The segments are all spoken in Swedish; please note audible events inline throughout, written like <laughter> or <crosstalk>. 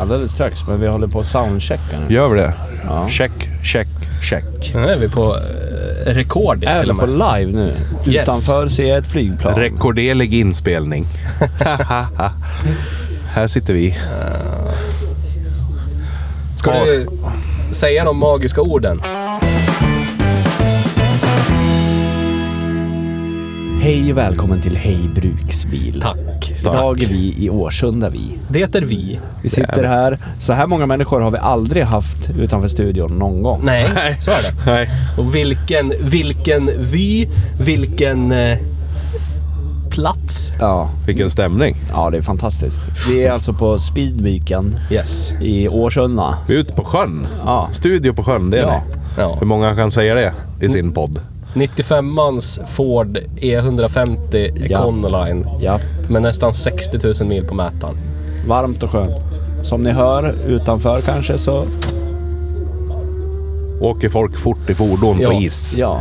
Alldeles strax, men vi håller på att soundchecka nu. Gör vi det? Ja. Check, check, check. Nu är vi på eh, rekord Är till vi och på med. live nu? Yes. Utanför ser jag ett flygplan. Rekorderlig inspelning. Här sitter vi. Ska du säga de magiska orden? Hej och välkommen till Hej Bruksbil. Tack. Idag är vi i Årsunda vi. Det är vi. Vi sitter här. Så här många människor har vi aldrig haft utanför studion någon gång. Nej, så är det. Nej. Och vilken, vilken vy, vilken eh, plats. Ja, Vilken stämning. ja, det är fantastiskt. Vi är alltså på Speedweeken Yes. i Årsunda. Vi är ute på sjön. Ja. Studio på sjön, det är Ja. ni. Ja. Hur många kan säga det i sin podd? 95ans Ford E150 Ja. Econoline. Ja, Med nästan 60 000 mil på mätaren. varmt och skönt. Som ni hör utanför kanske så... Åker folk fort i fordon Ja. på is? Ja.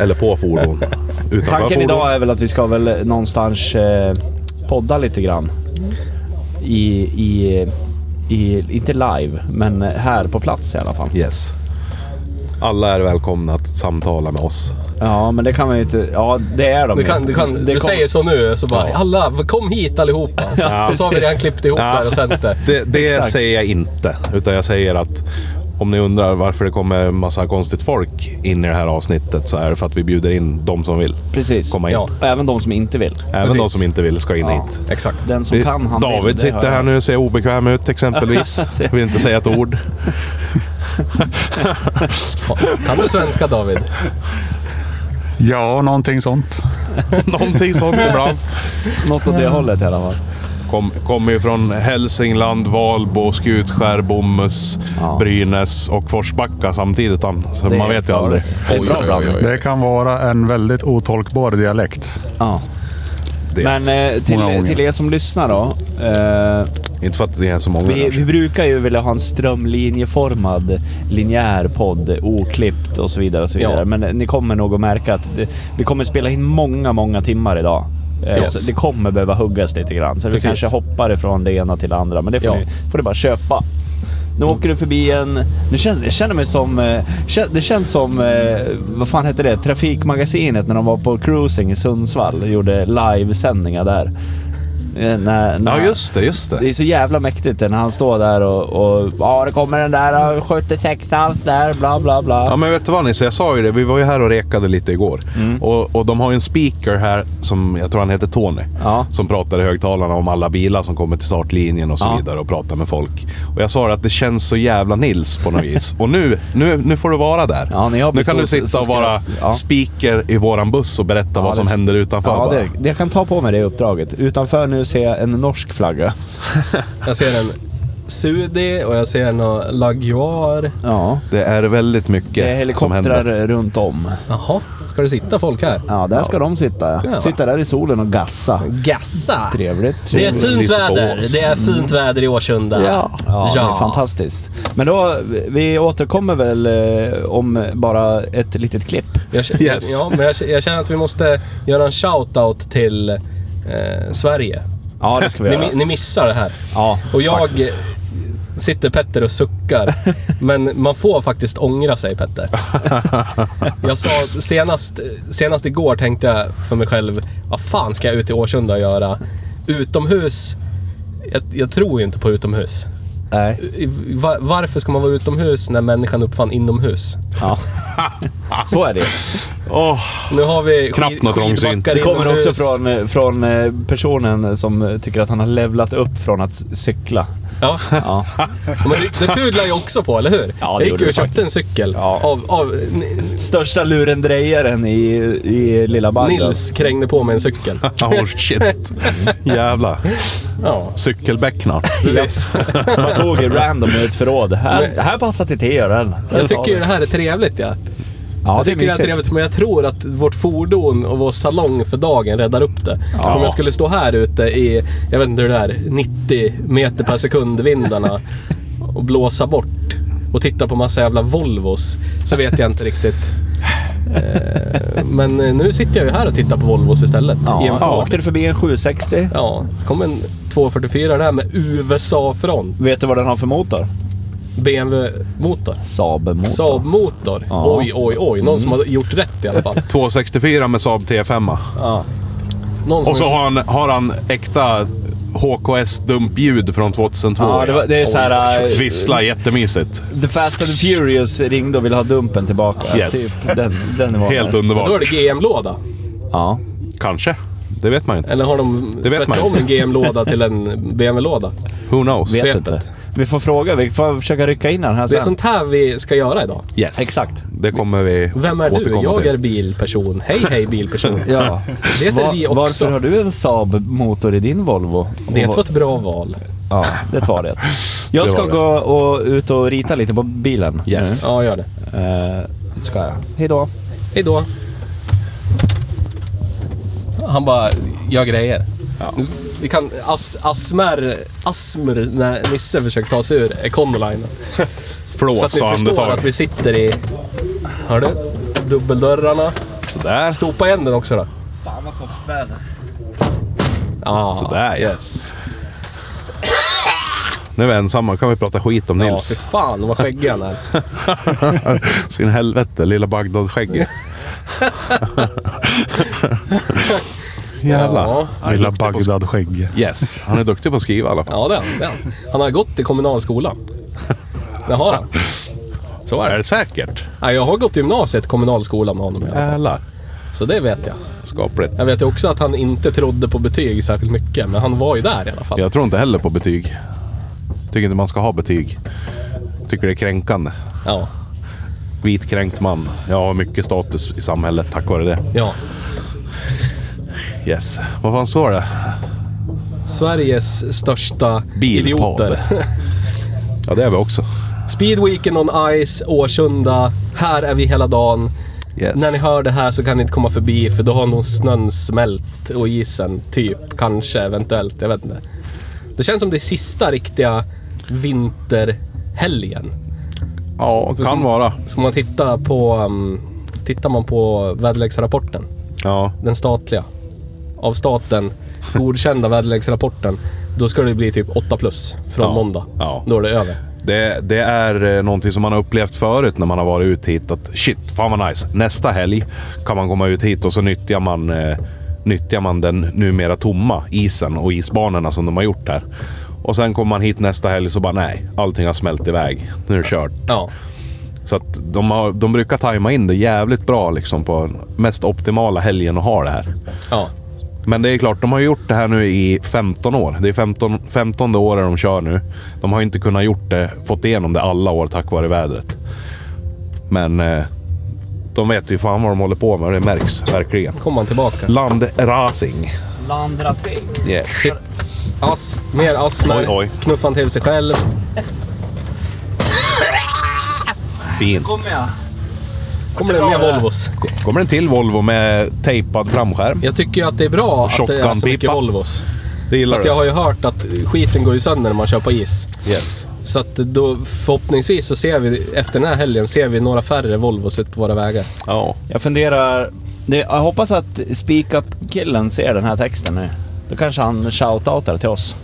Eller på fordon? Utanför Tanken fordon? idag är väl att vi ska väl någonstans eh, podda lite grann. I, i, i... Inte live, men här på plats i alla fall. Yes. Alla är välkomna att samtala med oss. Ja, men det kan man ju inte... Ja, det är de Du, ju. kan, du, kan, Det du kom- säger så nu, så bara Ja. alla, kom hit allihopa. och så har vi redan klippt ihop det här och sänt det. Det, det Exakt. säger jag inte. Utan jag säger att om ni undrar varför det kommer en massa konstigt folk in i det här avsnittet så är det för att vi bjuder in de som vill. Precis. komma in. Ja. Och Även de som inte vill. Även precis. de som inte vill ska in hit. Exakt. Den som kan, han vill. David Det hör sitter jag. här nu och ser obekväm <laughs> ut exempelvis. Vill inte säga ett ord. Kan du svenska David? Ja, någonting sånt. Någonting sånt ibland. Något åt det hållet i alla fall. Kom- Kommer ju från Hälsingland, Valbo, Skutskär, Bomhus, Ja. Brynäs och Forsbacka samtidigt. han. Så Det är man vet helt ju aldrig. galet. Det är bra blandning. Det kan vara en väldigt otolkbar dialekt. Ja. Det. Men eh, Många till, gånger. till er som lyssnar då. Eh, Inte för att det är så många. vi, kanske. vi brukar ju vilja ha en strömlinjeformad, linjär podd, oklippt och så vidare. Och så Ja. vidare. Men eh, ni kommer nog att märka att det, vi kommer spela in många, många timmar idag. Eh, Yes. så Det kommer behöva huggas lite grann. Så vi Precis. kanske hoppar ifrån det ena till det andra. Men det får, Ja. Mm. ni, får ni bara köpa. Nu åker du förbi en... Nu känns, jag känner mig som... eh, kä- Det känns som... eh, Vad fan hette det? Trafikmagasinet när de var på cruising i Sundsvall och gjorde livesändningar där. Eh, När, när, Ja, just det. Just det det. är så jävla mäktigt när han står där och, och ja, det kommer den där 76 allt där, bla bla bla. Ja, men vet du vad Nisse? Jag sa ju det. Vi var ju här och rekade lite igår. Mm. Och, och de har ju en speaker här som jag tror han heter Tony. Ja. Som pratar i högtalarna om alla bilar som kommer till startlinjen och så Ja. vidare och pratar med folk. Och jag sa det att det känns så jävla Nils på något vis. Och nu, nu, nu får du vara där. Ja, när jag nu kan består du så- så sitta och ska vara jag- ja. speaker i våran buss och berätta Ja, vad som det- händer utanför. Ja, bara. det, det kan ta på mig det uppdraget. Utanför nu ser jag en norsk flagga. Jag ser en Sudi och jag ser en Laguar. Ja. det är väldigt mycket Det är som händer. helikoptrar runt om. Jaha, ska det sitta folk här? Ja, där ska de sitta. Ja. Sitta där i solen och gassa. Gassa! Trevligt. Det är fint Lyser på väder. oss. Det är fint väder i Årsunda. Mm. Ja, det är fantastiskt. Men då, vi återkommer väl eh, om bara ett litet klipp. Jag, k- Yes. ja, men jag, k- jag känner att vi måste göra en shout-out till eh, Sverige. Ja, det ska vi Ni, göra. mi- ni missar det här. Ja, Och jag faktiskt. sitter Petter <laughs> och suckar. Men man får faktiskt ångra sig Petter. Jag sa senast, senast igår tänkte jag för mig själv, vad fan ska jag ut i Årsunda och göra? Utomhus, jag, jag tror ju inte på utomhus. Nej. I- va- varför ska man vara utomhus när människan uppfann inomhus? <laughs> Ja. Så är det. <laughs> Åh, Nu har vi Knappt något trångsynt. skidbackar Det kommer inomhus. eh, också från, från eh, personen som tycker att han har levlat upp från att cykla. Ja. <laughs> Ja. Men det, det pudlar ju också på, eller hur? Ja, det jag gick gjorde ju det och köpte faktiskt. en cykel Ja. av, av N- Största lurendrejaren i, i lilla bandet. <laughs> Nils krängde på mig en cykel. Oh shit. Jävlar. Ja, <laughs> Cykelbäck snart. precis. Man tog ju random ur ett förråd. Här, Men- det här passar till teören. <laughs> Jag tycker ju det här är trevligt ja. ja, Jag tycker det är trevligt men jag tror att vårt fordon och vår salong för dagen räddar upp det. För om jag skulle stå här ute i, jag vet inte hur det är, 90 meter per sekund vindarna och blåsa bort och titta på massa jävla Volvos så vet jag inte riktigt. Eh, Men eh, nu sitter jag ju här och tittar på Volvos istället. Ja, i en jag Ford. åkte förbi en 760. Ja, så kom en 244 där med USA-front. Vet du vad den har för motor? BMW-motor. Saab-motor. Saab-motor. Ja. Oj, oj, oj. Någon Mm. som har gjort rätt i <laughs> alla fall. 264 med Saab T5. a Ja. Någon som Och så har... har han, har han äkta HKS-dumpljud från 2002. Ja, det var- det är så här, Oj. eh, äh, Vissla jättemysigt. The Fast and Furious ringde och ville ha dumpen tillbaka. Yes. Typ den, den nivån. Helt Då är underbart. det GM-låda. Ja. Kanske. Det vet man ju inte. Eller har de vet svetsat man om inte. en GM-låda till en BMW-låda? Who knows? Vet Svepet. inte. Vi får fråga. Vi får försöka rycka in den här Det är sen. sånt här vi ska göra idag. Yes. Exakt. Det kommer vi Vem är du? återkomma Jag till. är bilperson. Hej, hej bilperson. <laughs> Ja. Det är vi också. Varför har du en Saab-motor i din Volvo? Det Och- var ett bra val. Ja, det var det. Jag Det ska var det. gå och ut och rita lite på bilen. Yes. Ja, gör det. Eh, ska jag. Hejdå. Hej då. Han bara gör grejer. Nu ska- Vi kan as, asmer, asmer när Nisse försöker ta sig ur Econoline. Så att Flås ni och förstår andetag. att vi sitter i... Hör du? Dubbeldörrarna. Sådär. Sopa igen den också då. Fan vad soft väder. Ah, Sådär, ja. Yes. Nu är vi ensamma. kan vi prata skit om Ja, fy Nils. fan vad skäggig han är. <laughs> <laughs> Sin helvete. Lilla <laughs> Bagdad-skägget. Jävlar. Ja, Han är Lilla duktig på- Bagdad-skägg. Yes. Han är duktig på att skriva i alla fall. ja det är han. det är han. Han har gått i kommunal <laughs> skola. Det har han. Så är Är det. det säkert? Ja, jag har gått gymnasiet, kommunalskola med honom. i alla fall. Jävlar. Så det vet jag. Skapligt. Jag vet ju också att han inte trodde på betyg särskilt mycket, men han var ju där i alla fall. Jag tror inte heller på betyg. Tycker inte man ska ha betyg. Tycker det är kränkande. Ja. Vit kränkt man. Jag har mycket status i samhället tack vare det. ja. Yes. Vad fan står det? Sveriges största Bilpodd. idioter. Ja, det är vi också. Speedweeken on Ice, Årsunda. Här är vi hela dagen. Yes. När ni hör det här så kan ni inte komma förbi för då har nog snön smält och isen, typ. Kanske, eventuellt. Jag vet inte. Det känns som det är sista riktiga vinterhelgen. Ja, kan vara. Så om man tittar på... Um, tittar man på väderleksrapporten, Ja. den statliga, av <laughs> staten godkända väderleksrapporten, då ska det bli typ 8 plus från Ja. måndag. Ja. Då är det över. Det, det är eh, någonting som man har upplevt förut när man har varit ute hit. Att shit, fan vad nice. Nästa helg kan man komma ut hit och så nyttjar man, eh, nyttjar man den numera tomma isen och isbanorna som de har gjort där. Och sen kommer man hit nästa helg så bara nej, allting har smält iväg. Nu är det kört. Ja. Så att de, har, de brukar tajma in det jävligt bra liksom på mest optimala helgen att ha det här. ja. Men det är klart, de har gjort det här nu i 15 år. Det är 15, 15 året de kör nu. De har inte kunnat gjort det, fått igenom det alla år tack vare vädret. Men eh, de vet ju fan vad de håller på med och det märks verkligen. Kommer man tillbaka. Landrasing. Landrasing. Yeah. Ass, mer astma. Oj, oj. Knuffar han till sig själv. Fint. jag. Kommer det mer Volvos? Kommer en till Volvo med tejpad framskärm. Jag tycker ju att det är bra att det är så mycket Shotgunpipa. Volvos. Det För gillar att jag du? har ju hört att skiten går ju sönder när man kör på is. Yes. Så att då förhoppningsvis så ser vi efter den här helgen ser vi några färre Volvos ute på våra vägar. Ja. Jag funderar... Det, jag hoppas att Speak Up-killen ser den här texten nu. Då kanske han shoutoutar till oss.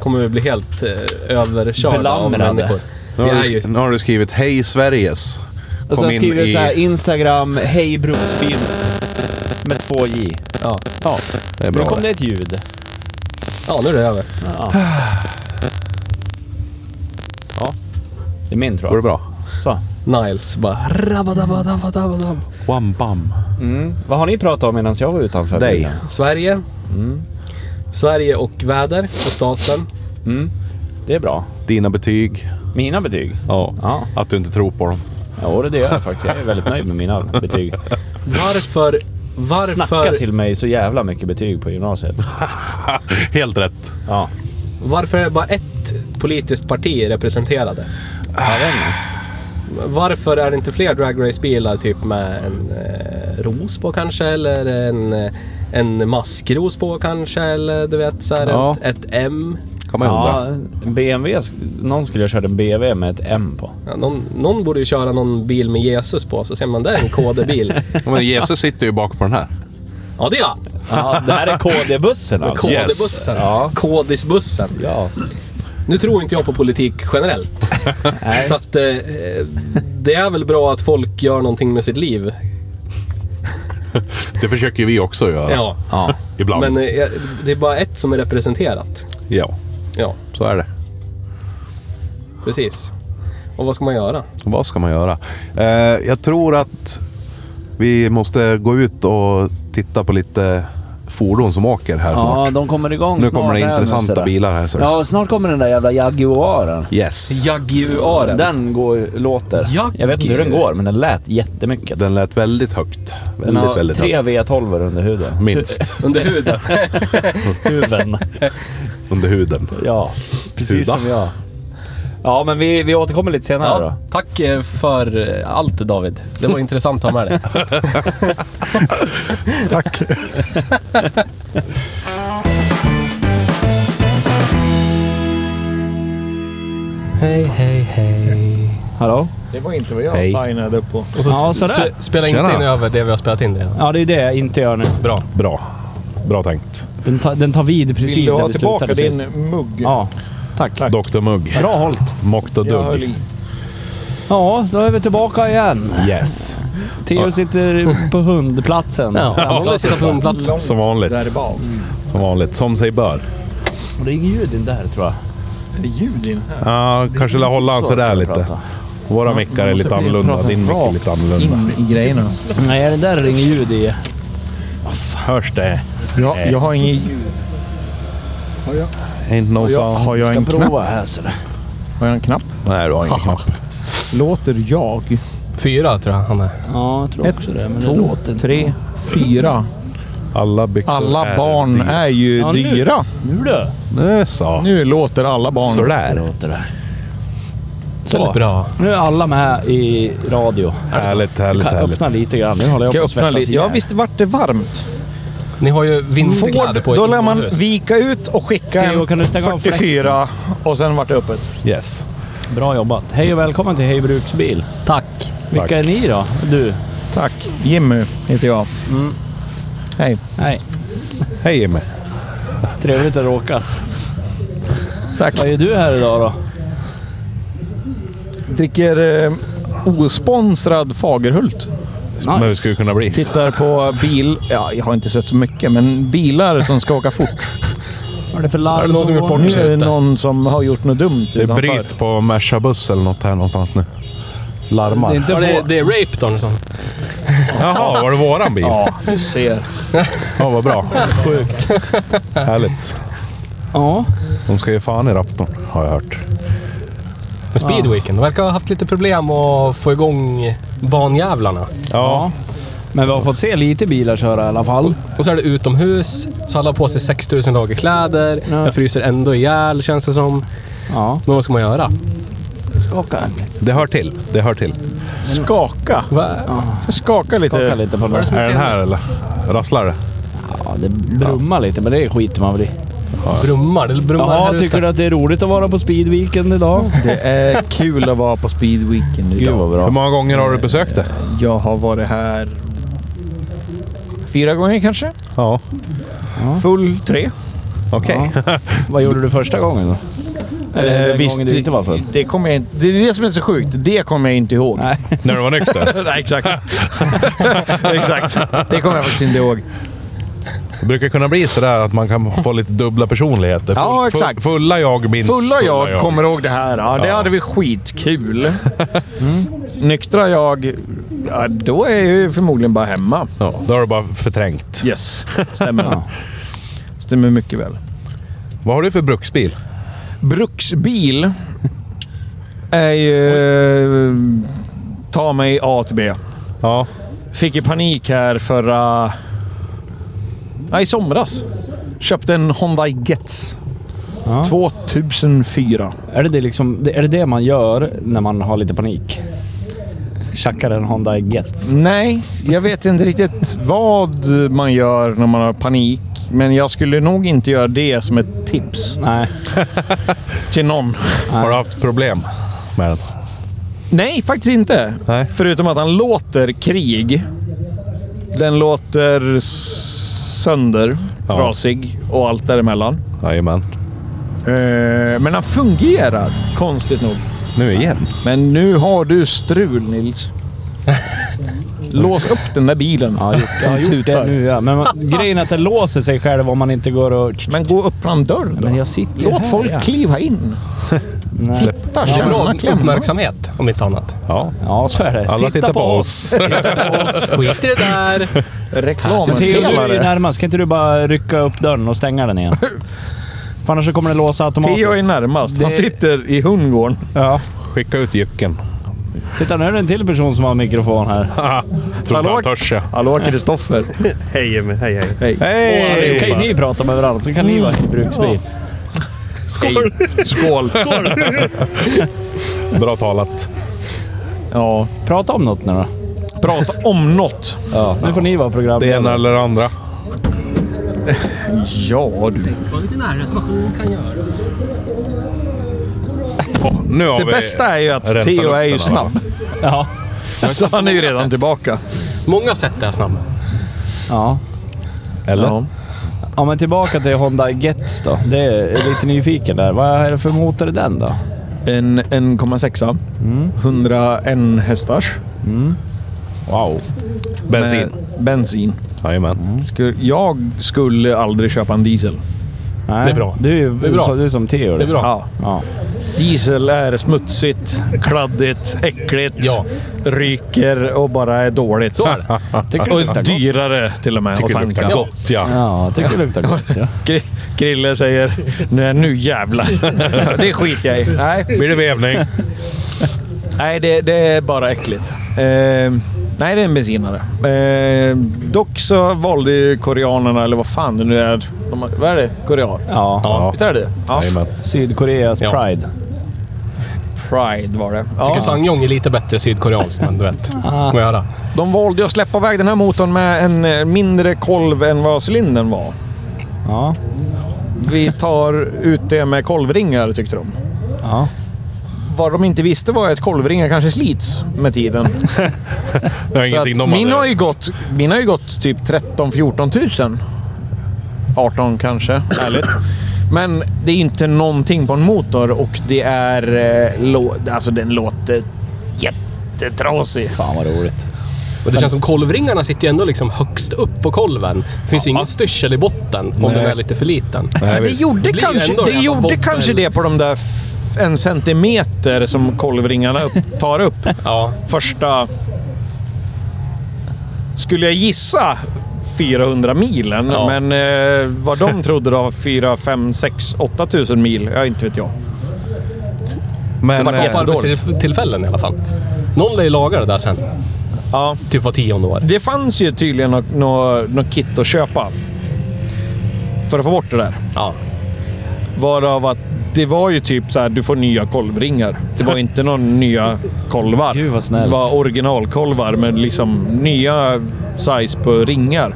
Kommer vi bli helt eh, överkörda Belamrade. av människor. Nu Vi har, är du, ju, sk- nu har du skrivit Hej Sveriges. Och Kom sen in skriver i- så här Instagram, hej Brosbil. Med två J. ja. Ja, Det är nu bra. kom det ett ljud. ja, nu är det över. Ja. ja. Det är min tror Går det jag. bra? Så. Niles bara... rabadabadabadabadab. One bam. Mm. Vad har ni pratat om medan jag var utanför Dig. bilen? Mm. Sverige. Sverige och väder och staten. Det är bra. Dina betyg. Mina betyg? Ja. Ja. Att du inte tror <laughs> på dem. Jo, det gör jag faktiskt. Jag är väldigt nöjd med mina betyg. Varför... Snacka Varför, till mig så jävla mycket betyg på gymnasiet. Helt rätt. Ja. varför är bara ett politiskt parti representerade? Jag vet inte. Varför är det inte fler Drag Race-bilar typ med en eh, ros på kanske? Eller en, eh, en maskros på kanske? Eller du vet, så här Ja. ett, ett M. Kan man ju undra. Ja, BMW. sk- Någon skulle ha kört en BMW med ett M på. Ja, någon, någon borde ju köra någon bil med Jesus på, så ser man där är en KD-bil. <laughs> Ja, Men Jesus sitter ju bak på den här. ja, det är jag! Ja, det här är KD-bussen alltså. KD-bussen. Ja. KD-bussen. Ja. Nu tror inte jag på politik generellt. <laughs> Nej. Så att, eh, det är väl bra att folk gör någonting med sitt liv. Det försöker ju vi också göra. Ja. Ja. Ibland. Men eh, jag- det är bara ett som är representerat. Ja, Ja, så är det. precis. Och vad ska man göra? Vad ska man göra? Eh, jag tror att vi måste gå ut och titta på lite fordon som åker här ja, snart. de kommer igång Nu snart kommer det här med intressanta sådär. bilar här, så det- Ja, snart kommer den där jävla Jaguaren. Yes. Jaguaren. Den går, låter. Jag- Jag vet inte hur den går, men den lät jättemycket. Den lät väldigt högt. Den Väldigt, har väldigt tre högt. V12 under huden. <laughs> Minst. Under huden. Huden. Under huden. ja, precis Huda. som jag. Ja, men vi, vi återkommer lite senare Ja, tack eh, för eh, allt David. Det var intressant att ha med dig. Tack. Hej, hej, hej. då. Hallå? Det var inte vad jag Hej. signade upp på. Och så Ja, sp- sådär. sp- spela inte Tjena. in över det vi har spelat in redan. Ja, det är det jag inte gör nu. Bra. Bra. Bra tänkt. Den, ta, den tar vid precis Vill du där ha vi tillbaka slutade din sist. mugg? Ja, tack. Dr Mugg. Bra hållt. Mocked och Jag höll Dugg. i. Ja, då är vi tillbaka igen. Yes. Theo sitter på hundplatsen. Ja, han ska sitta på hundplatsen. Som vanligt. Där bak. Som vanligt. Som sig bör. Det är ingen ljud in där tror jag. Är det ljud i den här? Ja, kanske la hålla han Så ska sådär vi lite. prata. Våra mickar är lite annorlunda. Din mick är lite annorlunda. in Mm, i grejerna. Nej, den där är det ingen ljud i. Hörs det? Ja, jag har ingen ljud. Ain't no sound. Har jag en Prova här så där. Har jag en knapp? Nej, du har ingen knapp. Låter jag? Fyra tror jag han är. Ja, jag tror också det. Men två, det låter inte tre, fyra. Alla byxor Mm. Alla är barn dyra. är ju Ja, nu- dyra. Nu du. Det sa. Nu låter alla barn. Sådär. Låter det. Väldigt Så. bra. Nu är alla med i radio. Härligt, härligt, Kan öppna härligt. lite grann. Nu håller jag på Ska jag att öppna svettas lite? Ja, ihjäl. visst vart det varmt? Ni har ju vinterkläder på Då ett lär man inomhus. vika ut och skicka Theo, en kan du stänga av 44 och sen vart det öppet. Yes. Bra jobbat. Hej och välkommen till Hej Bruksbil. Tack. Vilka Tack. är ni då? Du? Tack. Jimmy heter jag. Hej. Nej. Hej Jimmy. Trevligt att råkas. Tack. Vad är du här idag då? Dricker eh, osponsrad Fagerhult. Men hur skulle det kunna bli? Tittar på bil... Ja, jag har inte sett så mycket, men bilar som ska åka fort. Vad är det för larm Är det någon som gjort går? bort Nu är det Ursäkta. någon som har gjort något dumt Det är utanför. bryt på Merca buss eller något här någonstans nu. Det är Larmar. inte Ja, det, vår... det är Rape Donnerson. Jaha, var det våran bil? Ja, Ja, du ser. vad bra. Sjukt. Härligt. Ja. De ska ge fan i raptorn, har jag hört. Men Speedweeken verkar ha haft lite problem att få igång banjävlarna. ja. Men vi har fått se lite bilar köra i alla fall. Och så är det utomhus, så alla har på sig 6000 lager kläder. Ja. Jag fryser ändå ihjäl känns det som. Ja. Men vad ska man göra? Skaka. Det hör till. Det hör till. Skaka. Va? Skaka lite. Skaka lite på den. som Är den här eller? Rasslar det? Ja, det brummar lite, men det skiter man väl i. Brummar? Det brummar här Jaha, ute. tycker du att det är roligt att vara på Speedweekend idag? Det är kul att vara på speedweekend Gud idag. vad Hur bra. många gånger har du besökt det? <laughs> Jag har varit här fyra gånger kanske. Ja, Full tre. okej. <laughs> Vad gjorde du första gången då? Eller den Eh, visst, gången du inte var full? Det, kommer jag inte, det är det som är så sjukt. Det kommer jag inte ihåg. Nej. När du var nykter? Nej, exakt. <laughs> exakt. Det kommer jag faktiskt inte ihåg. Det brukar kunna bli sådär att man kan få lite dubbla personligheter. Full, Ja, full- exakt. Fulla jag minns Fulla jag kommer ihåg det här. Ja, det hade vi skitkul. <laughs> Mm. Nyktra jag, ja, då är jag ju förmodligen bara hemma. Ja, då har du bara förträngt. <laughs> Yes, stämmer. Stämmer mycket väl. Vad har du för bruksbil? <laughs> Bruksbil är ju... Ta mig A till B. Ja. Fick ju panik här förra... Nej, i somras. Köpte en Honda Getz. Ja. 2004. Är det det, liksom, det- är det det man gör när man har lite panik? Tjackar en Honda Getz. Nej, jag vet inte riktigt vad man gör när man har panik. Men jag skulle nog inte göra det som ett tips Nej. till någon. Har du haft problem med den? Nej, faktiskt inte. Nej. Förutom att han låter krig. Den låter s- sönder, Ja. trasig och allt däremellan. Jajamän. Eh, Men han fungerar, konstigt nog. Nu igen? Men nu har du <laughs> strul, Nils. Lås upp den där bilen. Ja, gjort, jag har gjort det nu ja. <laughs> Men man, grejen är att den låser sig själv om man inte går och... Men gå och öppna en dörr då. Men jag sitter ju Låt här, folk ja. kliva in. Nej. Titta, Det är känna, bra klämma. uppmärksamhet, om inte annat. Ja. Ja, så är det. Alla tittar på oss. <laughs> Skit i det <laughs> där. Se till, du är ju Reklampelare. närmast. Kan inte du bara rycka upp dörren och stänga den igen? För annars så kommer den låsa automatiskt. Theo är närmast. Han Det- sitter i hundgården. Ja. Skicka ut jycken. Titta, nu är det en till person som har mikrofon här. Tror inte Hallå? han törs jag. <laughs> Hallå Kristoffer. Hej Jimmy, hej hej. Då kan ju Hej! ni prata med varandra, så kan ni vara i bruksbil. Skål! Skål! Bra talat. Ja. Prata om något nu då. Prata om något. Ja. Nu får ni vara Det ena programledare. eller det andra. Ja du. Var lite nära att man kan göra. Nu har Det vi bästa är ju att rensat Theo är ju luften här, va? snabb. Ja. Så han är ju redan tillbaka. Många sätt är jag snabb. Ja. Eller? Ja. ja, men tillbaka till Honda Getz då. Det är jag är lite nyfiken där. Vad är det för motor i den då? En 1,6. Mm. 101 hästars. Wow. Bensin. Med Bensin. Jajamän. Skulle- Jag skulle aldrig köpa en diesel. Nej, Det är bra. Du är ju är bra. så- du är som Theo. Det är bra. Ja. Ja. Diesel är smutsigt, kladdigt, äckligt, Ja. ryker och bara är dåligt. Så är det. Tycker du Och luktar gott? dyrare till och med Tycker det att luktar tanka. gott ja. Ja, jag tycker det luktar gott. Ja. Gri- Grille säger "Nej, nu <laughs> jävlar. Det skiter jag i. Nej, <laughs> Blir det vevning? Nej, det, det är bara äckligt. Eh, nej, det är en bensinare. Eh, dock så valde ju koreanerna, eller vad fan det nu är. De, har- vad är det? Korean? Ja. Ja. Visst är det det? Ja. Jajamän. Sydkoreas Ja. Pride. Pride var det. Tycker Ja. Sangyong är lite bättre sydkoreansk, men du vet. Kommer jag höra. De valde ju att släppa iväg den här motorn med en eh, mindre kolv än vad cylindern var. Ja. Vi tar ut det med kolvringar, tyckte de. Ja. Vad de inte visste var att kolvringar kanske slits med tiden. Det var Så att ingenting de min, hade. har ju gått, min har ju gått typ 13-14 000. 18 kanske, ärligt. Men det är inte någonting på en motor och det är... Eh, lå- alltså den låter jättetrasig. Fan vad roligt. Och det känns som kolvringarna sitter ju ändå liksom högst upp på kolven. Det finns ju ingen styrsel i botten om den är lite för liten. Nej, det visst. gjorde, Det blir kanske, ändå det, en jävla gjorde bobbel. kanske det på de där f- en centimeter som kolvringarna upp, tar upp. Ja, Första... Skulle jag gissa 400 milen, Ja. men eh, vad de trodde då, 4, 5, 6, 8 000 mil? Ja, inte vet jag. Men, fast på eh, arbetstillfällen i alla fall. Någon lär ju laga det där sen. Ja. Typ var tionde år. Det fanns ju tydligen något nå, nå kit att köpa. För att få bort det där. Ja. Varav att det var ju typ så här, du får nya kolvringar. Det var inte någon nya kolvar. Gud, vad snällt. Det var originalkolvar med liksom nya size på ringar.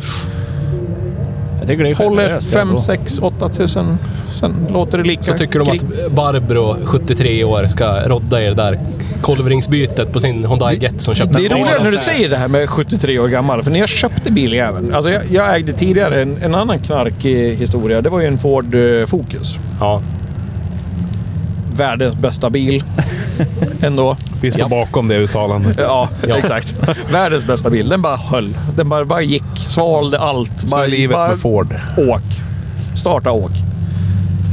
Jag tycker det är Håller generöst, jag 5, då. 6, 8 tusen. Sen låter det lika. Så tycker de att Barbro, 73 år, ska rodda i det där kolvringsbytet på sin Honda Get som köptes Det är på roligare när du Ålands. säger det här med 73 år gammal, för när jag köpte biljäveln. Alltså jag, jag ägde tidigare en, en annan knarkig historia. Det var ju en Ford eh, Focus. Ja. Världens bästa <laughs> bil. Ändå. vi står bakom det uttalandet. Ja, exakt. Världens bästa bil. Den bara höll. Den bara, bara gick. Svalde allt. Så bara, är livet bara med Ford. åk. Starta åk.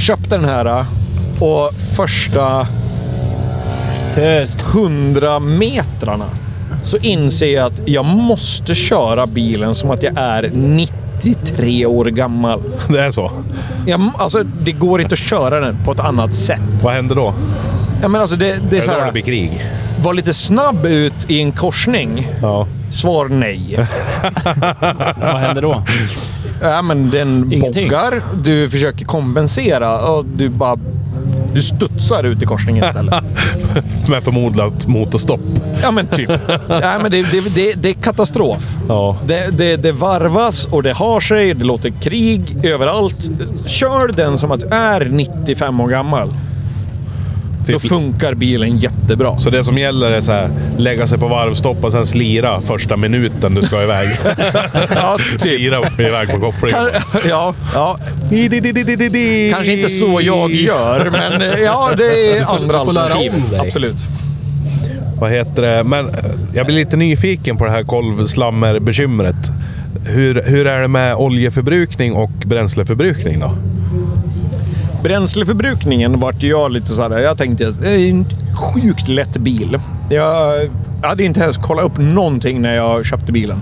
Köpte den här äh, och första Tyst. 100 metrarna så inser jag att jag måste köra bilen som att jag är 93 år gammal. <laughs> Det är så. Ja, m- alltså, det går inte att köra den på ett annat sätt. Vad händer då? Ja, men alltså, det, det är så Eller det blir här, krig? var lite snabb ut i en korsning. Ja. Svar nej. Vad händer då? Ja, men den Ingenting. boggar, du försöker kompensera och du bara... Du studsar ut i <laughs> korsningen istället. Med förmodat motorstopp. ja, men typ. Ja, men det, det, det, det är katastrof. Ja. Det, det, det varvas och det har sig, det låter krig överallt. Kör den som att du är 95 år gammal. Då Typ. funkar bilen jättebra. Så det som gäller är så här, lägga sig på varvstopp och sen slira första minuten du ska iväg. <laughs> Ja, typ. slira iväg på kopplingen. <laughs> ja, ja. Kanske inte så jag gör, men eh, ja, det är andra du får lära alternativ. om dig. Absolut. Vad heter det? Men eh, jag blir lite nyfiken på det här kolvslammerbekymret. Hur, hur är det med oljeförbrukning och bränsleförbrukning då? Bränsleförbrukningen vart jag lite så här. Jag tänkte det är en sjukt lätt bil. Jag hade inte ens kollat upp någonting när jag köpte bilen.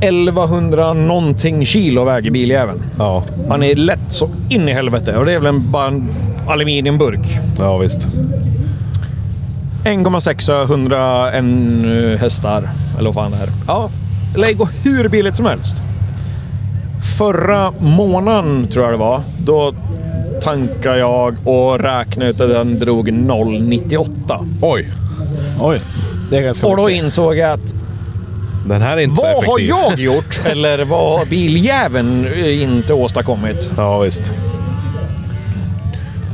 1100 någonting kilo väger biljäveln. Ja, Han är lätt så in i helvete och det är väl en, bara en aluminiumburk. ja visst. 1,6 101 eh, hästar eller vad fan det är. Ja, lägg gå hur billigt som helst. Förra månaden tror jag det var, då tankade jag och räknade ut att den drog 0,98. Oj, Oj. Det är ganska Och då mycket. insåg jag att den här är inte så vad har effektiv. jag <laughs> gjort? Eller vad har biljäveln eh, inte åstadkommit? Ja, visst.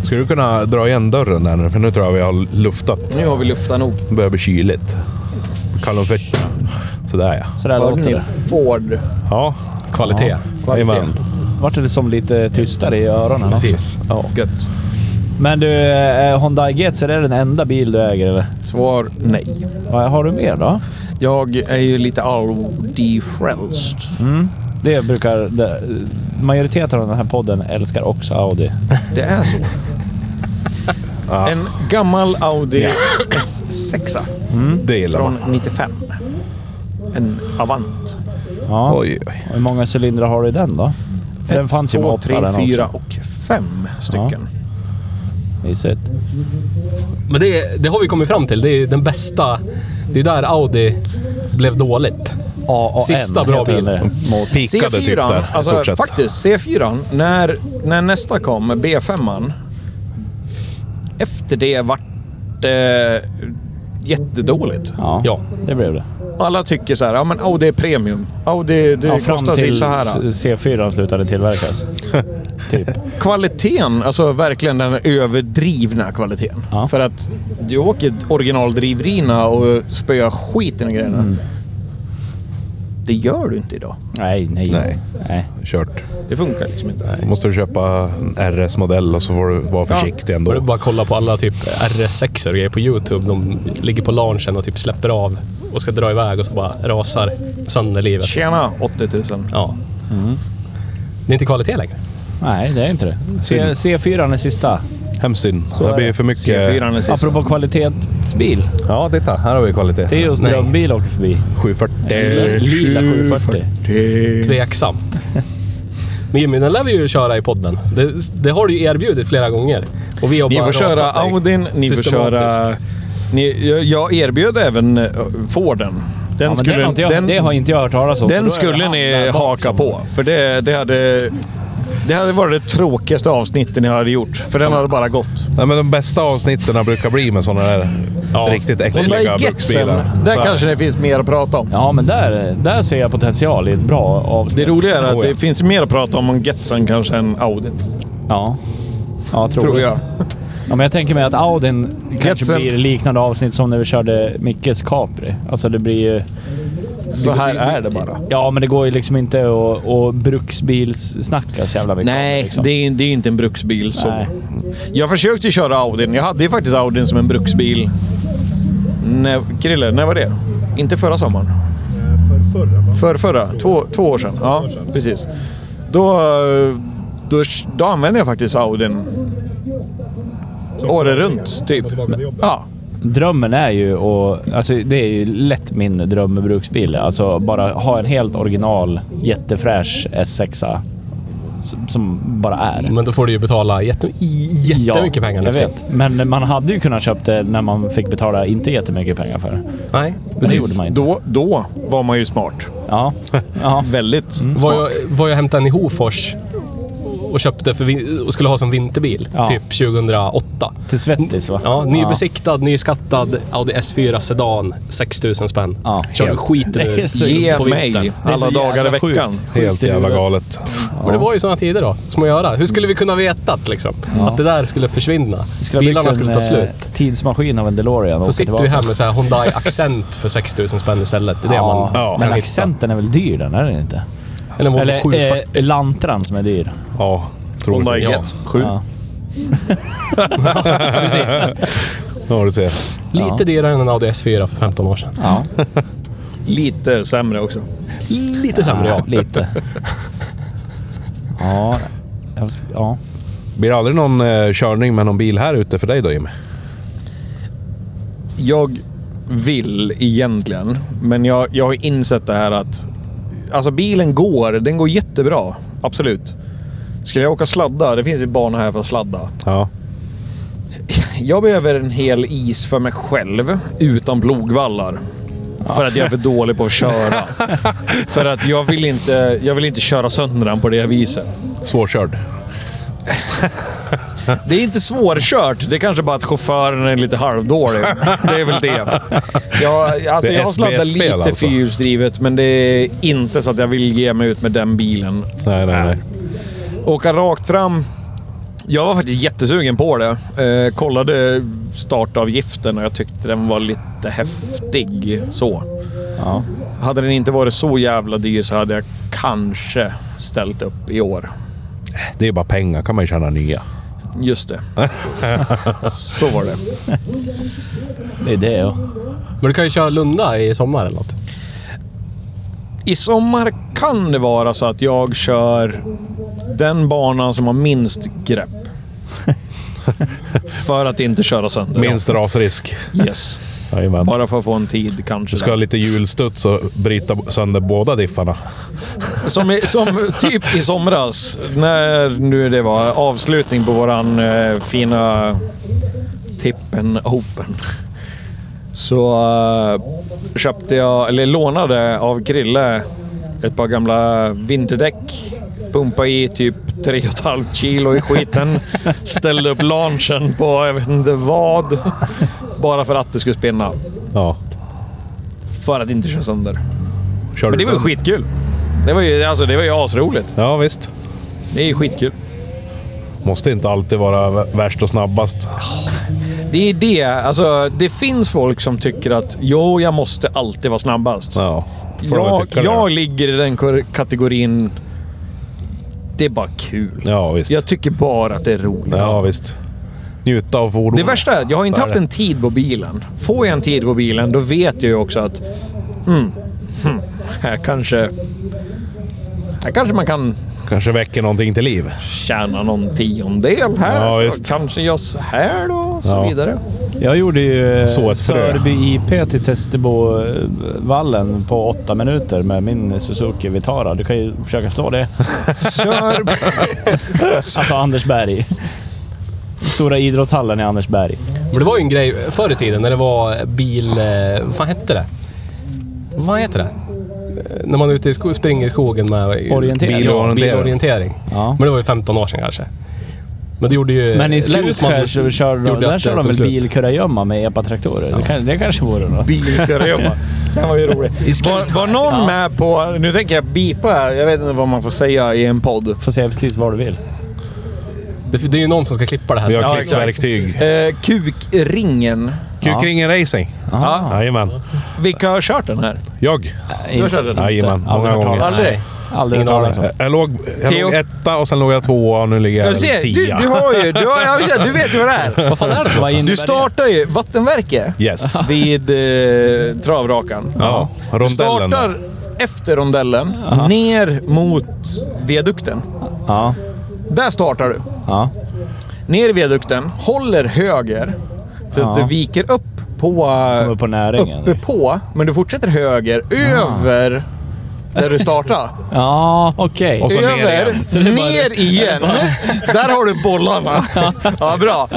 Skulle du kunna dra igen dörren där nu? För nu tror jag vi har luftat. Nu har vi luftat nog. Det börjar bli kyligt. Kall om fötterna. Sådär ja. Sådär Hörde låter ni det. Ford? Ja. Kvalitet. Kvalitet. Vart det som lite tystare i öronen också. Precis. Ja. Gött. Men du, eh, Honda Getz, är det den enda bil du äger eller? Svar nej. Vad har du mer då? Jag är ju lite Audi-frälst. Det brukar... Det, majoriteten av den här podden älskar också Audi. Det är så. En gammal Audi S6 Mm, Det gillar man. från 95. En Avant. Ja. Oj, oj. Hur många cylindrar har du i den då? För den Ett, fanns ju med två, åtta tre, den fyra också. och fem stycken. Mysigt. Men det, det har vi kommit fram till. Det är den bästa... Det är där Audi blev dåligt. A och Sista bra heter den bil. där. Mot Pikade typ där, i alltså stort sett. faktiskt, C4, när, när nästa kom, B5, efter det vart det jättedåligt. Ja, Ja. det blev det. Alla tycker så här, ja men Audi är premium. Audi, det Ja, fram kostar sig till så här. C4 slutade <laughs> tillverkas. typ. kvaliteten, alltså verkligen den överdrivna kvaliteten. Ja. För att du åker originaldrivrina och spöar skiten i grejerna. Det gör du inte idag. Nej, nej. Nej. nej. Kört. Det funkar liksom inte. Då måste du köpa en RS-modell och så får du vara försiktig Då är det ändå. bara att kolla på alla typ RS6 och grejer på YouTube. De ligger på launchen och typ släpper av och ska dra iväg och så bara rasar sönder livet. Tjena 80 000. Ja. Mm. Det är inte kvalitet längre. Nej, det är inte det. C, C4 är sista. Hemsyn. är Det blir det. för mycket... C4 är sista. Apropå kvalitetsbil. Ja, titta. Här har vi kvalitet. Teos Nej. drömbil åker förbi. Eh, 740. Lila 740. Tveksamt. Men Jimmy, den lär vi ju köra i podden. Det, det har du ju erbjudit flera gånger. Och vi har Ni bara får köra ratat dig Audin, ni får systematiskt. köra... Ni, jag- jag erbjöd även eh, Forden. Den Ja, men den har inte jag, den- det har inte jag hört talas om. så då är Den det skulle han ni där bak haka som- på, för det, det, hade, det hade varit det tråkigaste avsnittet ni hade gjort. För den hade bara gått. Nej, men de bästa avsnitten brukar bli med sådana där riktigt Den äckliga där getsen, bruksbilar. där Så här. kanske det finns mer att prata om. Ja, men där, där ser jag potential i ett bra Det avsnitt. roliga är att Oh, ja. det finns mer att prata om om getsen kanske än Audi, Ja. Ja, troligt. tror jag. Ja, men jag tänker mig att Audin kanske Jetsen. blir liknande avsnitt som när vi körde Mickes Capri. Alltså det blir ju... Så här är det bara. Ja, men det går ju liksom inte att, att bruksbilssnacka så jävla mycket. om, Nej, liksom. det är, det är inte en bruksbil. Så. Nej. Jag försökte ju köra Audin. Jag hade ju faktiskt Audin som en bruksbil. När, Krille, när var det? Inte förra sommaren? För förra, två, två år sedan. Ja, precis. Då, eh, då, då använde jag faktiskt Audin. Året runt, typ. Ja, Drömmen är ju att... Alltså det är ju lätt min drömbruksbil. Alltså bara ha en helt original, jättefräsch S6. som- som bara är. Men då får du ju betala jätte, jättemycket pengar nu jag för tiden. vet. Men man hade ju kunnat köpt det när man fick betala inte jättemycket pengar för det. Nej, Det precis. gjorde man inte. Då, då var man ju smart. Ja. ja. Väldigt. Mm. Var jag, var jag hämtade en i Hofors och köpte för, vin- och skulle ha som vinterbil, Ja. typ 2008. Till Svettis va? Ja, nybesiktad, nyskattad Audi S4 Sedan, 6000 spänn. Ja. Körde skiten Det är ur så- Ge på mig vintern. Det är alla så dagar i jävla sjukt. veckan. Helt jävla galet. Men det var ju sådana tider då. Små öra. Hur skulle vi kunna vetat liksom? Att det där skulle försvinna. Vi skulle ha byggt Bilarna en, skulle ta eh, slut. tidsmaskin av en DeLorean och Så åka sitter tillbaka. vi här med så här Hyundai Accent för 6000 spänn istället. Det är det Ja, man kan men hitta. accenten är väl dyr den, är den inte? Eller Volvo Eller 740. eh, Lantran som är dyr. Ja, Honda troligtvis. X. Sju. Ja. <laughs> Precis. Ja, du ser. Lite dyrare än en Audi S4 för 15 år sedan. Ja, Lite sämre också. Lite sämre ja. <laughs> lite. Ja, jag- ja. Blir det aldrig någon eh, körning med någon bil här ute för dig då Jimmy? Jag vill egentligen, men jag, jag har insett det här att... Alltså bilen går, den går jättebra. Absolut. Ska jag åka sladda? Det finns ju banor här för att sladda. Ja. <laughs> Jag behöver en hel is för mig själv utan plogvallar. För att jag är för dålig på att köra. för att jag vill, inte, jag vill inte köra sönder den på det viset. Svårkörd. Det är inte svårkört. Det är kanske bara att chauffören är lite halvdålig. Det är väl det. Jag, alltså, Det är jag har sladdat SBS-fel lite alltså. fyrhjulsdrivet, men det är inte så att jag vill ge mig ut med den bilen. Nej, nej, nej. Åka rakt fram. Jag var faktiskt jättesugen på det. Eh, kollade startavgiften och jag tyckte den var lite häftig. Så. ja. Hade den inte varit så jävla dyr så hade jag kanske ställt upp i år. Det är bara pengar. kan man ju tjäna nya. Just det. <laughs> så var det. Det är det. ja. Men du kan ju köra Lunda i sommar eller något. I sommar kan det vara så att jag kör den banan som har minst grepp. <laughs> för att inte köra sönder. Minst rasrisk. Yes. Jajamän. Bara för att få en tid kanske. Du ska ha lite hjulstuds och bryta sönder båda diffarna. Som, i, som typ i somras, när nu det var avslutning på våran eh, fina Tippen Open. Så eh, köpte jag, eller lånade av Krille ett par gamla vinterdäck. Pumpa i typ 3,5 kilo i skiten. Ställde upp launchen på jag vet inte vad. Bara för att det skulle spinna. Ja. För att inte köra sönder. Kör Men du det var ju den? skitkul. Det var ju, alltså, det var ju asroligt. Ja, visst. Det är ju skitkul. Måste inte alltid vara v- värst och snabbast. Det är det. Alltså, det finns folk som tycker att jo, jag måste alltid vara snabbast. Ja. Får de väl jag tycka det. jag ligger i den kor- kategorin... Det är bara kul. Ja, visst. Jag tycker bara att det är roligt. Ja, visst. Njuta av fordonet. Det värsta är att jag har inte Så är haft det. en tid på bilen. Får jag en tid på bilen, då vet jag ju också att... Hmm, hmm, här kanske... Här kanske man kan Kanske väcker någonting till liv. tjäna någon tiondel här. Ja, visst. Kanske jag så här då, och så Ja. vidare. Jag gjorde ju eh, Så ett frö. Sörby IP till Testebovallen på åtta minuter med min Suzuki Vitara. Du kan ju försöka slå det. Sörby. <laughs> Alltså Andersberg. Stora idrottshallen i Andersberg. Men det var ju en grej förr i tiden när det var bil... eh, Vad fan hette det? Vad heter det? Eh, När man är ute i sko- springer i skogen med... Orientering. Ja, Bilorientering. bilorientering. Ja. Men det var ju 15 år sedan kanske. Men det gjorde ju... Men i Länsman Skutskär så kör de, gjorde där att kör det de tog väl slut. bilkurragömma med epatraktorer. Det, kan, det kanske vore något. Bilkurragömma. <laughs> Den var ju rolig. Var, var någon med på... Nu tänker jag bipa här. Jag vet inte vad man får säga i en podd. Får säga precis vad du vill. Det, det är ju någon som ska klippa det här. Vi sen. har Ja, exakt. klippverktyg. Eh, kukringen. Kukringen Racing. Aha. Jajamän. Vilka har kört den här? Jag. Du har kört den? Jajamän. Många Aldrig hört gånger. talas om. Aldrig? Aldrig hört Ingen talas om. Jag låg, jag Theo. låg etta och sen låg jag tvåa och nu ligger jag, Jag ser, du, tia. du har ju... Du, har, jag ser, du vet ju vad det är. Vad fan är det? Vad innebär Du startar ju vattenverket Yes. vid eh, travrakan. Ja, Du rondellen. där. startar efter rondellen, ner mot viadukten. det? Ja. Där startar du. ja. Ner i viadukten, håller höger. Så att Ja. du viker upp på... Kommer på näringen. Uppe på, men du fortsätter höger, över där <laughs> du startade. Ja, okej. Och så ner Över, igen. Så det är bara- <laughs> ner igen. <laughs> Där har du bollarna. <laughs> Ja, bra.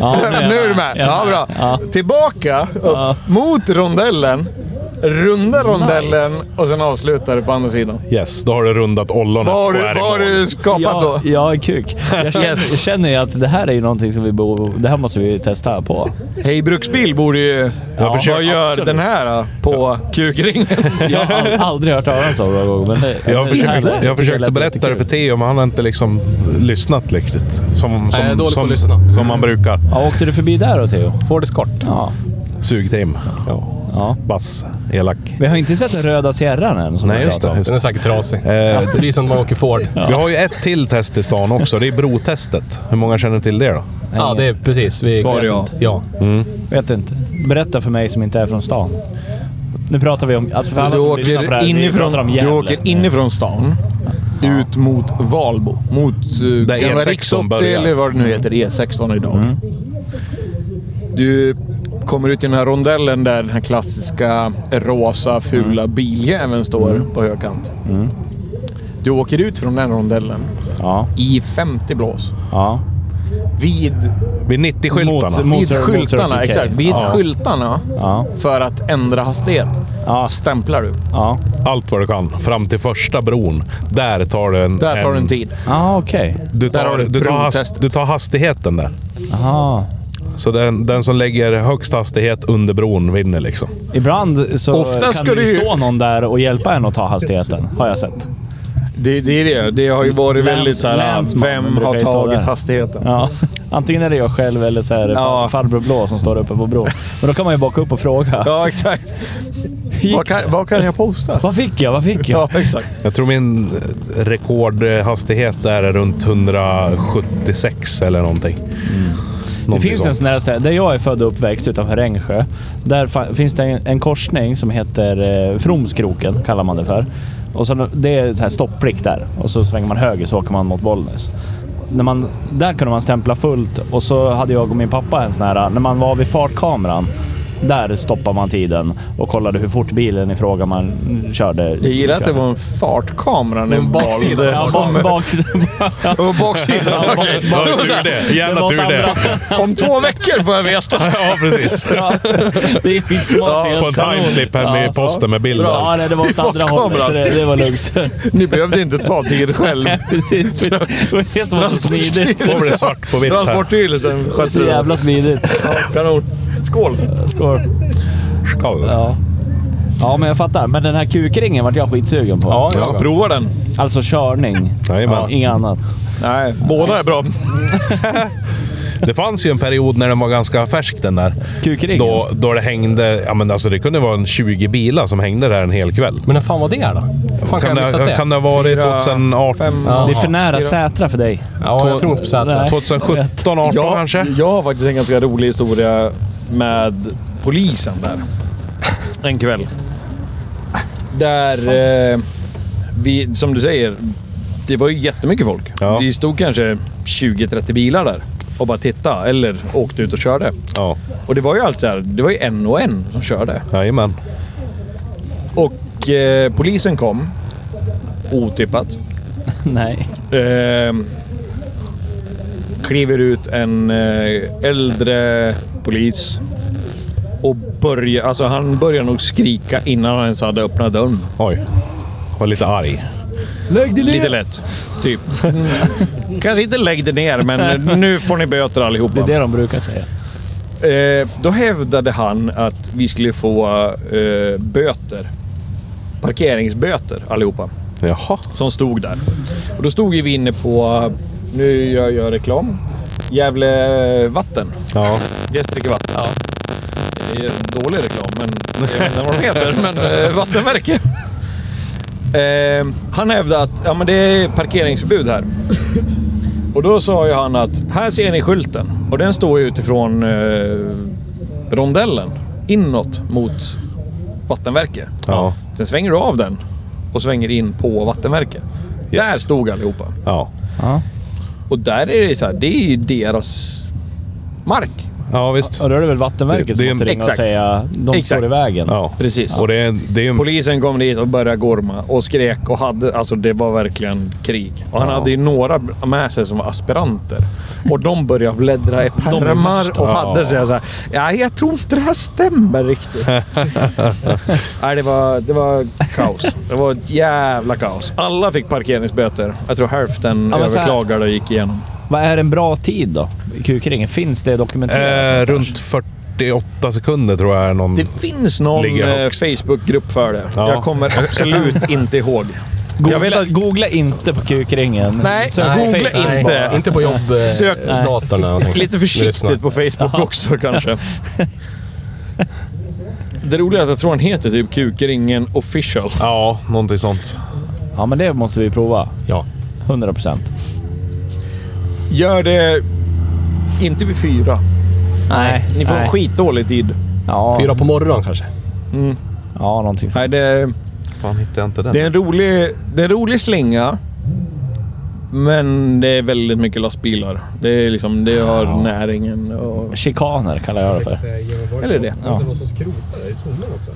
Ja, nu är jag <laughs> Nu är du med. med. Ja, bra. Tillbaka upp mot rondellen. Runda rondellen och sen avslutar du på andra sidan. Yes, då har du rundat ollonet Vad har du, och är i vad har mål. du skapat då? Ja, ja, kuk. Jag känner, jag känner ju att det här är ju någonting som vi borde... Det här måste vi testa på. Hej Bruksbil borde ju... Ja, försök- vad gör absolut. den här då, på kukringen? Jag har <laughs> al- aldrig hört talas om någon gång, men det, Jag det- försökte, det- jag försökte lät berätta det för jättekul. Theo, men han har inte liksom lyssnat riktigt. Som, jag är dålig som, på som, att lyssna. som man brukar. Ja, åkte du förbi där då, Theo? Ford Escort. Ja. Sugtim. Ja. ja. Bass. Elak. Vi har inte sett den röda sierran än. Som Nej, vi just det. pratade om. Just Den är det. säkert trasig. Det blir som när man åker Ford. Vi har ju ett till test i stan också. Det är brotestet. Hur många känner till det då? Ja, det är precis. Vi Svar ja. ja. Vet inte. Berätta för mig som inte är från stan. Nu pratar vi om... Alltså för alla Du som lyssnar på det åker, här, vi inifrån, pratar om du Gävle. åker inifrån stan. Ut mot Valbo. Mot uh, E Där gamla E16 Riksåt börjar. eller vad det nu heter. E16 idag. Mm. Du kommer ut i den här rondellen där den här klassiska rosa fula Mm. biljäveln står på högkant. Du åker ut från den rondellen Ja, i 50 blås. ja. Vid, Vid 90-skyltarna. Mot- vid mot- skyltarna. mot- exakt. Vid Ja. skyltarna. Ja. För att ändra hastighet Ja. stämplar du. Ja, Allt vad du kan. Fram till första bron. Där tar du en... Där tar du en tid. ja okej. Du tar, Där har du du, tar brotest. hast, du tar hastigheten där. Aha. Så den, den som lägger högst hastighet under bron vinner liksom. Ibland så Ofta kan ska det du ju ju- stå någon där och hjälpa en att ta hastigheten, har jag sett. Det, det är det. Det har ju varit Läns- väldigt så här, länsmannen vem brukar har ju stå tagit där. hastigheten? Ja. Antingen är det jag själv eller så är det Ja. farbror Blå som står uppe på bron. Men då kan man ju baka upp och fråga. <laughs> Ja, exakt. Gick- Vad kan, vad kan jag posta? Vad fick jag? Vad fick jag? Ja, exakt. Jag tror min eh, rekordhastighet där är runt 176 eller någonting. Det någonting finns en sån här ställe, där jag är född och uppväxt utanför Ängsjö. Där fa- finns det en, en korsning som heter eh, Fromskroken, kallar man det för. Och sen, det är så här stopplikt där och så svänger man höger så åker man mot Bollnäs. När man, där kunde man stämpla fullt och så hade jag och min pappa en sån här, när man var vid fartkameran, där stoppade man tiden och kollade hur fort bilen i fråga man körde. Jag gillar att det var en fartkamera nu. En baksida. valde- Ja, som- bak, <laughs> bak, Och baksidan. Ja, okej. bak- bak- Det var så Tur här, det! Jävla Det tur var något det! Om två veckor får jag veta. <laughs> Ja, precis. Ja, det är skitsmart. Få en timeslip hem i posten med bilder. Ja, nej, det <laughs> var åt andra hållet så det, det var lugnt. Ni behövde inte ta tid själv. Precis. Det var det som var så smidigt. Då blir det svart på vitt här. Transportstyrelsen skötte Så det. där. jävla smidigt. Kanon. Skål. Skål. Skål. Ja. Ja, men jag fattar. Men den här kukringen vart jag skitsugen på. Ja, prova den. Alltså körning. Jajamän. Inget annat. Nej, båda är bra. Det fanns ju en period när den var ganska färsk den där. Kukringen? Då, då det hängde, ja men alltså det kunde vara en 20 bilar som hängde där en hel kväll. Men när fan var det då? Hur fan kan jag Kan ha missat det, det? kan det ha varit Fyra, 2018? fem- Det är för Jaha. nära Sätra för dig. Ja, jag tror inte på Sätra. Nej. 2017, 18 jag, kanske? Jag har faktiskt en ganska rolig historia med polisen där. En kväll. Där... Eh, vi, som du säger, det var ju jättemycket folk. Ja. Vi stod kanske 20-30 bilar där och bara tittade eller åkte ut och körde. Ja, Och det var ju allt så här, det var ju en och en som körde. jajamän. Och eh, polisen kom. Otippat. Nej. Eh, kliver ut en eh, äldre polis och börjar, alltså han börjar nog skrika innan han ens hade öppnat dörren. Oj. Var lite arg. Lägg dig Lite lätt, typ. Kanske inte lägg det ner, men nu får ni böter allihopa. Det är det de brukar säga. Eh, då hävdade han att vi skulle få eh, böter. Parkeringsböter allihopa. Jaha. som stod där. Och då stod ju vi inne på, nu gör jag reklam, Gävle vatten. Ja. Gästrike vatten. Det är dålig reklam, men jag vet inte vad de <laughs> heter. Men eh, vattenverket. Eh, han hävdade att ja, men det är parkeringsförbud här. Och då sa ju han att här ser ni skylten och den står ju utifrån eh, rondellen inåt mot vattenverket. Ja. Sen svänger du av den och svänger in på vattenverket. Där stod allihopa. Ja. Och där är det så här, det är ju deras mark. Ja, visst. Och då är det väl Vattenverket Det- som det är- måste ringa exakt. och säga de Exakt. står i vägen. Ja. Precis. Och det är, det är Mm. en... Polisen kom dit och började gorma och skrek och hade... Alltså det var verkligen krig. Och han hade ju några med sig som var aspiranter. Och de började <laughs> bläddra i pärmar och hade sig så här. Ja, jag tror inte det här <laughs> stämmer riktigt. Nej, det var, det var kaos. Det var ett jävla kaos. Alla fick parkeringsböter. Jag tror hälften Ja, men så här- överklagade och gick igenom. Vad är en bra tid då? i Kukringen? Finns det dokumenterat? Eh, runt 48 sekunder tror jag är någon... Det finns någon Ligger eh, högst. Facebookgrupp för det. Ja. Jag kommer <laughs> absolut inte ihåg. Googla, Jag vet att... googla inte på kukringen. Nej, Sök på googla Facebook. inte. bara. Inte på jobb... eh, Sök- datorn eller någonting. Lite Lyssna. försiktigt på Facebook också <laughs> kanske. Det roliga är att jag tror han heter typ Kukringen official. Ja, någonting sånt. Ja, men det måste vi prova. Ja. 100 procent. Gör det inte vid fyra. Nej, Ni får nej. en skitdålig tid. Ja, Fyra på morgonen kanske. ja, någonting sånt. Nej, det, Fan, hittade jag inte den? det, är en rolig, det är en rolig slinga. Men det är väldigt mycket lastbilar. Det är liksom, det har näringen och... Chikaner kallar jag det för. Eller det. Ja. någon som skrotade i tummen också.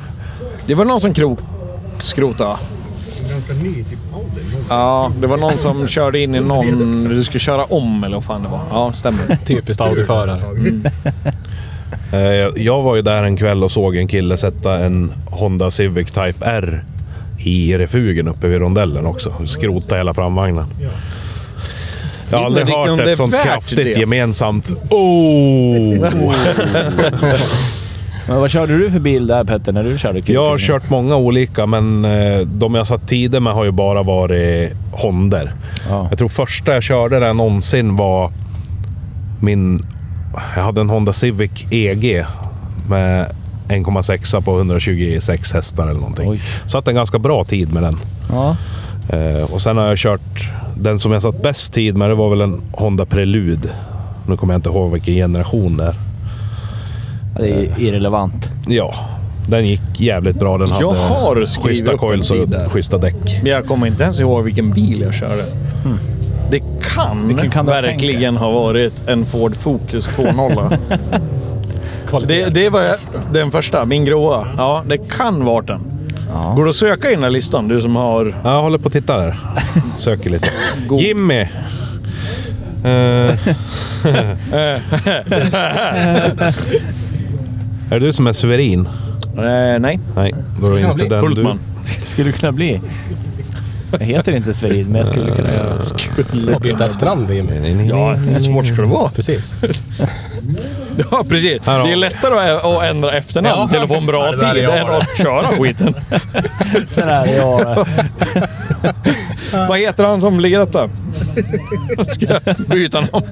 Det var någon som krok... skrota. En ganska ny typ Audi. Ja, det var någon som körde in i någon... Du skulle köra om eller vad fan det var. Ja, stämmer. Typiskt Audi-förare. Eh, jag- Jag var ju där en kväll och såg en kille sätta en Honda Civic Type R i refugen uppe vid rondellen också. Skrota hela framvagnen. Jag har aldrig Men vilken- hört det är ett sånt värt kraftigt det. gemensamt oh! Men vad körde du för bil där Petter, när du körde kukringen? Jag har kört många olika, men eh, de jag satt tider med har ju bara varit Honder. Ja. Jag tror första jag körde där någonsin var min... Jag hade en Honda Civic EG med 1,6 på 126 hästar eller någonting. Oj. Satt en ganska bra tid med den. Ja. Eh, och sen har jag kört... Den som jag satt bäst tid med, det var väl en Honda Prelude. Nu kommer jag inte ihåg vilken generation det Ja, är. Det är ju irrelevant. Ja, den gick jävligt bra. Den Jag hade har skrivit schyssta upp en coils tid där. och schyssta däck. Men jag kommer inte ens ihåg vilken bil jag körde. Det kan, Hmm. Vilken kan du ha tänkt verkligen ha varit en Ford Focus <laughs> 2.0. det, det var jag- den första, min gråa. Ja, det kan vara den. Går det att söka i den här listan, du som har... Ja, jag håller på att titta där. Söker lite. Jimmy! Eh. <laughs> är det du som är suverin? Eh, nej. Nej, då är det inte den du... Hultman. Skulle kunna bli. Jag heter inte Sverid, men jag skulle kunna göra det. Och byta efternamn, Jimmy. Ja, hur svårt ska det vara? Precis. <laughs> Ja, precis. Här har- Det är lättare att- att ändra efternamn Ja. till att få en bra Ja, det där är tid jag än det. att köra skiten. Så där, ja. Vad heter han som ligger <laughs> detta? Ska jag byta namn?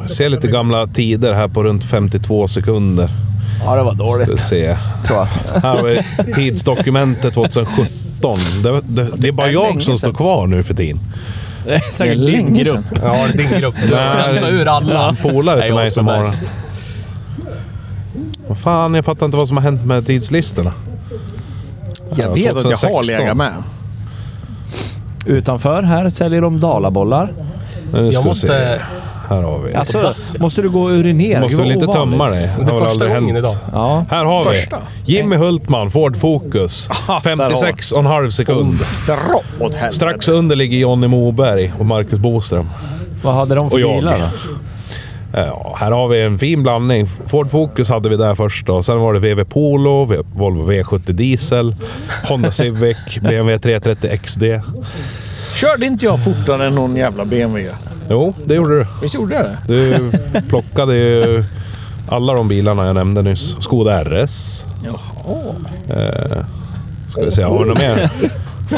Jag ser lite gamla tider här på runt 52 sekunder. ja, det var dåligt Ska se. tror jag. Här har vi tidsdokumentet 2017. Det, det, det är bara jag som står kvar nu för tiden. Det är säkert din länge sedan. grupp. Ja, din grupp. Du har rensat ur alla. En polare Nej, till jag mig står som har... bäst. Vad fan, jag fattar inte vad som har hänt med tidslistorna. <laughs> Jag vet att jag har 2016. legat med. Utanför här säljer de dalabollar. Nu ska Jag vi se. måste... Här har vi. Alltså, dass, ja. måste du gå och urinera? Måste Gud, väl vad inte ovanligt. tömma dig? Det är första gången idag. Ja. Här har Första? vi Jimmy Hultman, Ford <laughs> Focus. 56,5 sekund. Oh. Dra åt helvete. Strax under ligger Jonny Moberg och Marcus Boström. Vad hade de för Och jag. bilar då? Ja, här har vi en fin blandning. Ford Focus hade vi där först då. Sen var det VW Polo, V- Volvo V70 Diesel, Honda Civic, <laughs> BMW 330 XD. Körde inte jag fortare än någon jävla BMW? Jo, det gjorde du. Visst gjorde jag det? Du plockade ju alla de bilarna jag nämnde nyss. Skoda RS. Jaha. Ska vi se, har du något mer?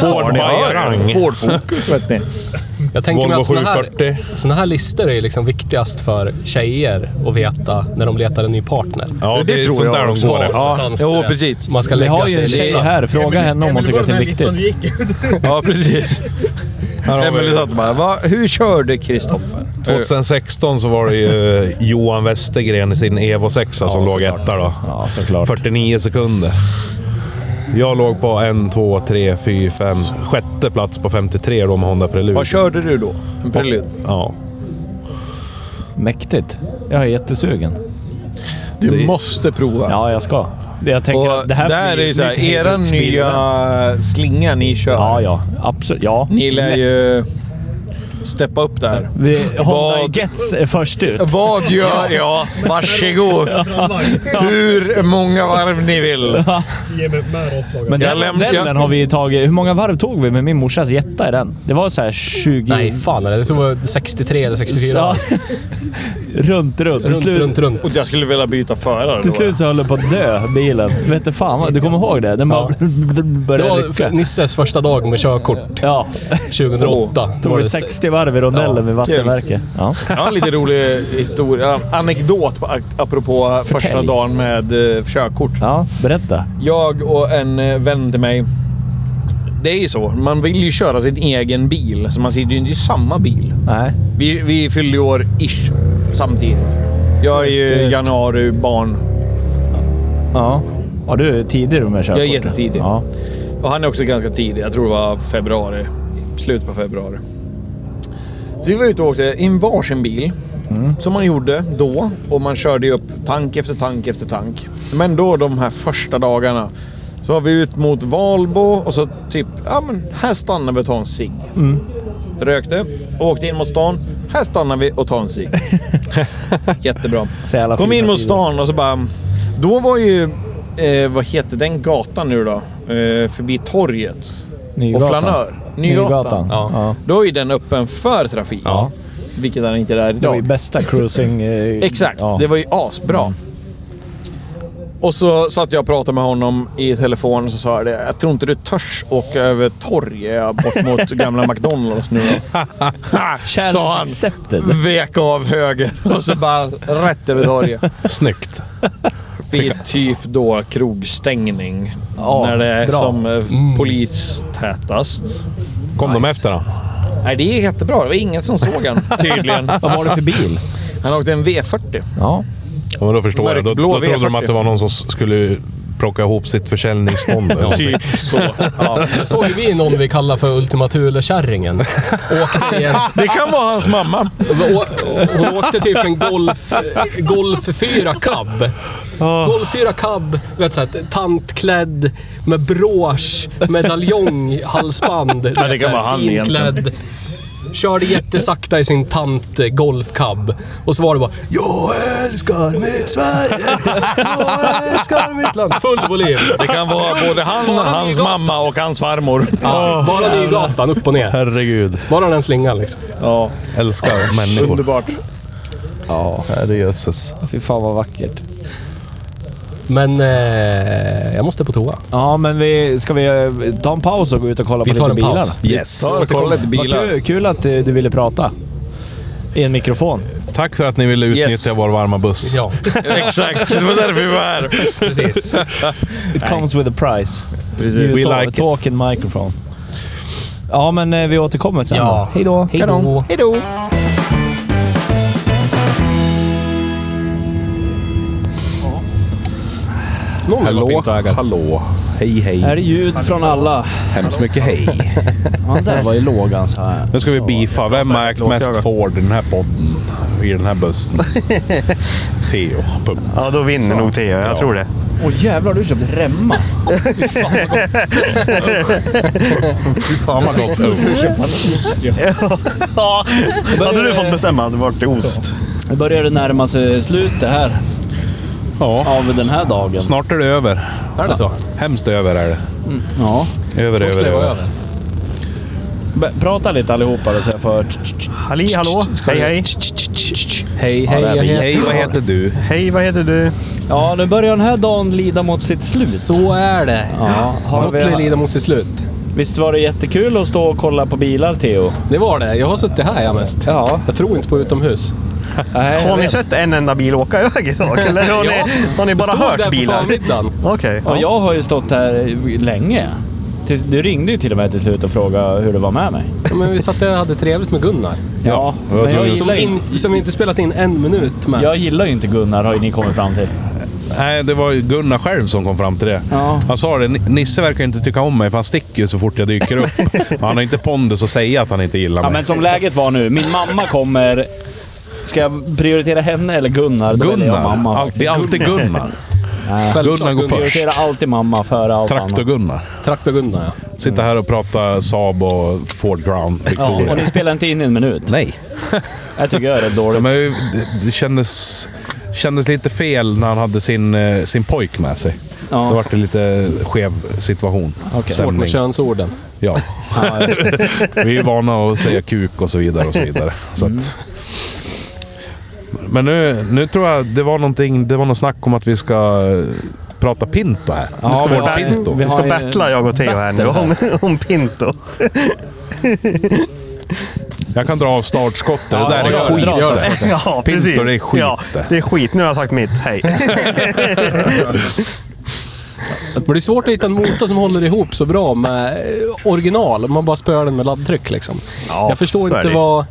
Ford Bajarang. Ford Focus vet <laughs> ni. Jag tänker mig Volvo att såna här, 740. såna här listor är ju liksom viktigast för tjejer att veta när de letar en ny partner. Ja, det, är tror sånt jag där de också. går efter. Ja, jo, precis. Man ska Vi har lägga ju sig i en tjej listan. här. Fråga henne om hon tycker att det är Listan viktigt. gick ut. <laughs> Ja, precis. Här har vi- Emelie satt bara, Va, hur körde Kristoffer? 2016 så var det ju eh, Johan Westergren i sin Evo 6 som låg etta då. Ja, såklart. 49 sekunder. Jag låg på en, två, tre, fyra, fem, sjätte plats på 53 då med Honda Prelude. Vad körde du då? En Prelude? Ja. Mäktigt. Jag är jättesugen. Du Det- måste prova. Ja, jag ska. Det Jag tänker Och att det här där blir är ju så här, mitt eget era nya bilevent. slinga ni kör. Ja, ja. Absolut. Ja. Ni lär ju steppa upp där. Vi, Honda Vad- Gets är först ut. Vad gör jag? Varsågod! Hur många varv ni vill. Ge mig med avslagen. Men Jag den läm- modellen jag- har vi ju tagit... Hur många varv tog vi med min morsas jetta i den? Det var så här 20... Nej, fan är det? Jag tror det var 63 eller 64. Ja. <laughs> runt, runt. Till Runt, slut, runt, runt. Och jag skulle vilja byta förare Till då. slut så höll den på att dö, bilen. Vet du fan vad, Du kommer ihåg det? Den bara <laughs> Det började var rycka. för- Nisses första dag med körkort Ja, 2008. tog Var det det 60 varv i rondellen vid vattenverket. Ja. Ja, en lite rolig historia. Anekdot på- apropå första dagen med eh, körkort. ja, berätta. Jag och en eh, vän till mig. Det är ju så. Man vill ju köra sin egen bil, så man sitter ju inte i samma bil. Nej. Vi, vi fyllde ju år ish samtidigt. Jag är ju Just. januari-barn Ja. Ja, du är tidig med körkort. Jag är jättetidig. Ja. och han är också ganska tidig. Jag tror det var februari. Slut på februari. Så vi var ute och åkte i en varsin bil. Som man gjorde då. Och man körde ju upp tank efter tank efter tank. Men då de här första dagarna. Så var vi ut mot Valbo och så typ, ja men här stannar vi och tar en cigg. Rökte, åkte in mot stan. Här stannar vi och tar en <laughs> cigg. Jättebra. Så jävla Kom fina in mot tider. stan och så bara... Då var ju... Eh, vad heter den gatan nu då? Eh, förbi torget. Nygatan. Och Flanör. Nygatan. Nygatan. Ja. ja. Då är ju den öppen för trafik. Ja. Vilket den inte är Det var ju idag. bästa cruising... eh, Exakt, Ja. Mm. det var ju asbra. Och så satt jag och pratade med honom i telefon och så sa jag det. Jag tror inte du törs åka över torget <laughs> bort mot gamla McDonalds nu då. Sa Challenge han. accepted. Vek av <laughs> höger och så bara rätt över torget. Snyggt. Vid typ då krogstängning. Ja, när det är bra. Mm. som eh, polistätast. Kom de efter då? Nej, det är jättebra. Det var ingen som såg han tydligen. Vad var det för bil? Han åkte en V40. Ja. Ja, men då förstår jag. Då, Mörkblå då trodde de V40. att det var någon som s- skulle plocka ihop sitt <laughs> försäljningsstånd. eller någonting. Typ så. Jag såg ju vi någon vi kallar för <laughs> Ultima Thule-kärringen. Åkte i en- Det kan vara hans mamma. å- Hon åkte typ en Golf, golf 4 Cab. Golf 4 Cab, vet så här, tantklädd med brosch, medaljong, halsband. Ja, det kan vara han Finklädd. Körde jättesakta i sin tant eh, Golf Cab. Och så var det bara “Jag älskar mitt Sverige! Jag älskar mitt land!” Fullt volym. Det kan vara både han, Bara hans nygatan. mamma och hans farmor. Bara Nygatan, upp och ner. Herregud. Bara den slingan liksom. Ja, Älskar människor. underbart. Ja, herrejösses. Fy fan vad vackert. Men eh, jag måste på toa. Ja, men vi, ska vi eh, ta en paus och gå ut och kolla Vi på tar lite en bilar? paus. Yes. Ta och kolla lite Vad bilar. kul, kul att eh, du ville prata. I en mikrofon. Tack för att ni ville utnyttja Yes. vår varma buss. Ja, Exakt, det var därför vi var här. precis. It comes with a price. Precis. You We talk, like it. talk in microphone. Ja, men eh, vi återkommer sen Ja. då. Hej då. Hej då. Hej då! Någon vill vara Typ. Hallå, pintögad. hallå. Hej, Här hej. är ljud från alla. Hemskt mycket hej. Ja, där var ju lågan så här. Nu ska vi beefa. Vem har ägt mest Ford i den här podden? I den här <laughs> bussen? Theo. Punkt. Ja, då vinner nog Theo. Jag tror det. Åh jävlar, du köpte remma. Fan vad gott. Ja. Hade du fått bestämma hade det varit ost. Nu börjar det närma sig slutet här Ja, av den här dagen. snart är det över. Är det så? Hemskt över är det. Ja. Över, över, Det var över. över. B- prprata lite allihopa då så jag får... Halli hallå! Hej hej! Hej, hej, där jag blir- heter... Hej, vad heter du? Hej, vad heter du? Ja, nu börjar den här dagen lida mot sitt slut. Så är det. Ja, har Något lär vi, lida mot sitt slut. visst var det jättekul att stå och kolla på bilar, Theo? Det var det. Jag har suttit här jag mest. Ja. Jag tror inte på utomhus. Nej, jag Har ni vet. sett en enda bil åka iväg idag? Eller har Ja. ni, har ni bara Stod där hört på bilar? förmiddagen. Okej. Ja, jag har ju stått här länge. Tills- Du ringde ju till och med till slut och frågade hur det var med mig. Ja, Men vi satt och hade trevligt med Gunnar. Ja, jag men tror jag du- gillar, Som, ju in, inte, som vi inte spelat in en minut med. jag gillar ju inte Gunnar, har ju ni kommit fram till. Nej, det var ju Gunnar själv som kom fram till det. Ja. Han sa det, Nisse verkar inte tycka om mig för han sticker ju så fort jag dyker <laughs> upp. Men han har inte pondus att säga att han inte gillar Ja, mig. men som läget var nu, min mamma kommer Ska jag prioritera henne eller Gunnar? Då väljer jag mamma. Gunnar. Det är alltid Gunnar. Gunnar går först. Prioritera alltid mamma före allt annat. <laughs> Traktor-Gunnar. Traktor-Gunnar, ja. Sitta här och prata Saab och Ford Ground Ja, Victoria. och ni spelar inte in i en minut. Nej. Jag tycker jag är rätt Ja, dåligt. men det, det kändes, kändes lite fel när han hade sin, eh, sin pojk med sig. Ja. Det var det lite skev situation. Svårt med könsorden. Ja. <laughs> Vi är ju vana att säga kuk och så vidare. Och så vidare. Så att. Men nu, nu tror jag det var någonting, det var något snack om att vi ska eh, prata Pinto här. Ja, nu ska vi vårt har- Pinto. vi Vi ska har ju- battla jag och Theo här nu om, om Pinto. Jag kan dra av startskottet. Ja, det där ja, är ja, skit. dra Gör det. startskottet. <laughs> Ja, Pinto, precis. det är skit Ja, det. det är skit. Nu har jag sagt mitt. Hej. Men det är svårt att hitta en motor som håller ihop så bra med eh, original. Om man bara spöar den med laddtryck liksom. Ja, jag förstår så är inte det. vad...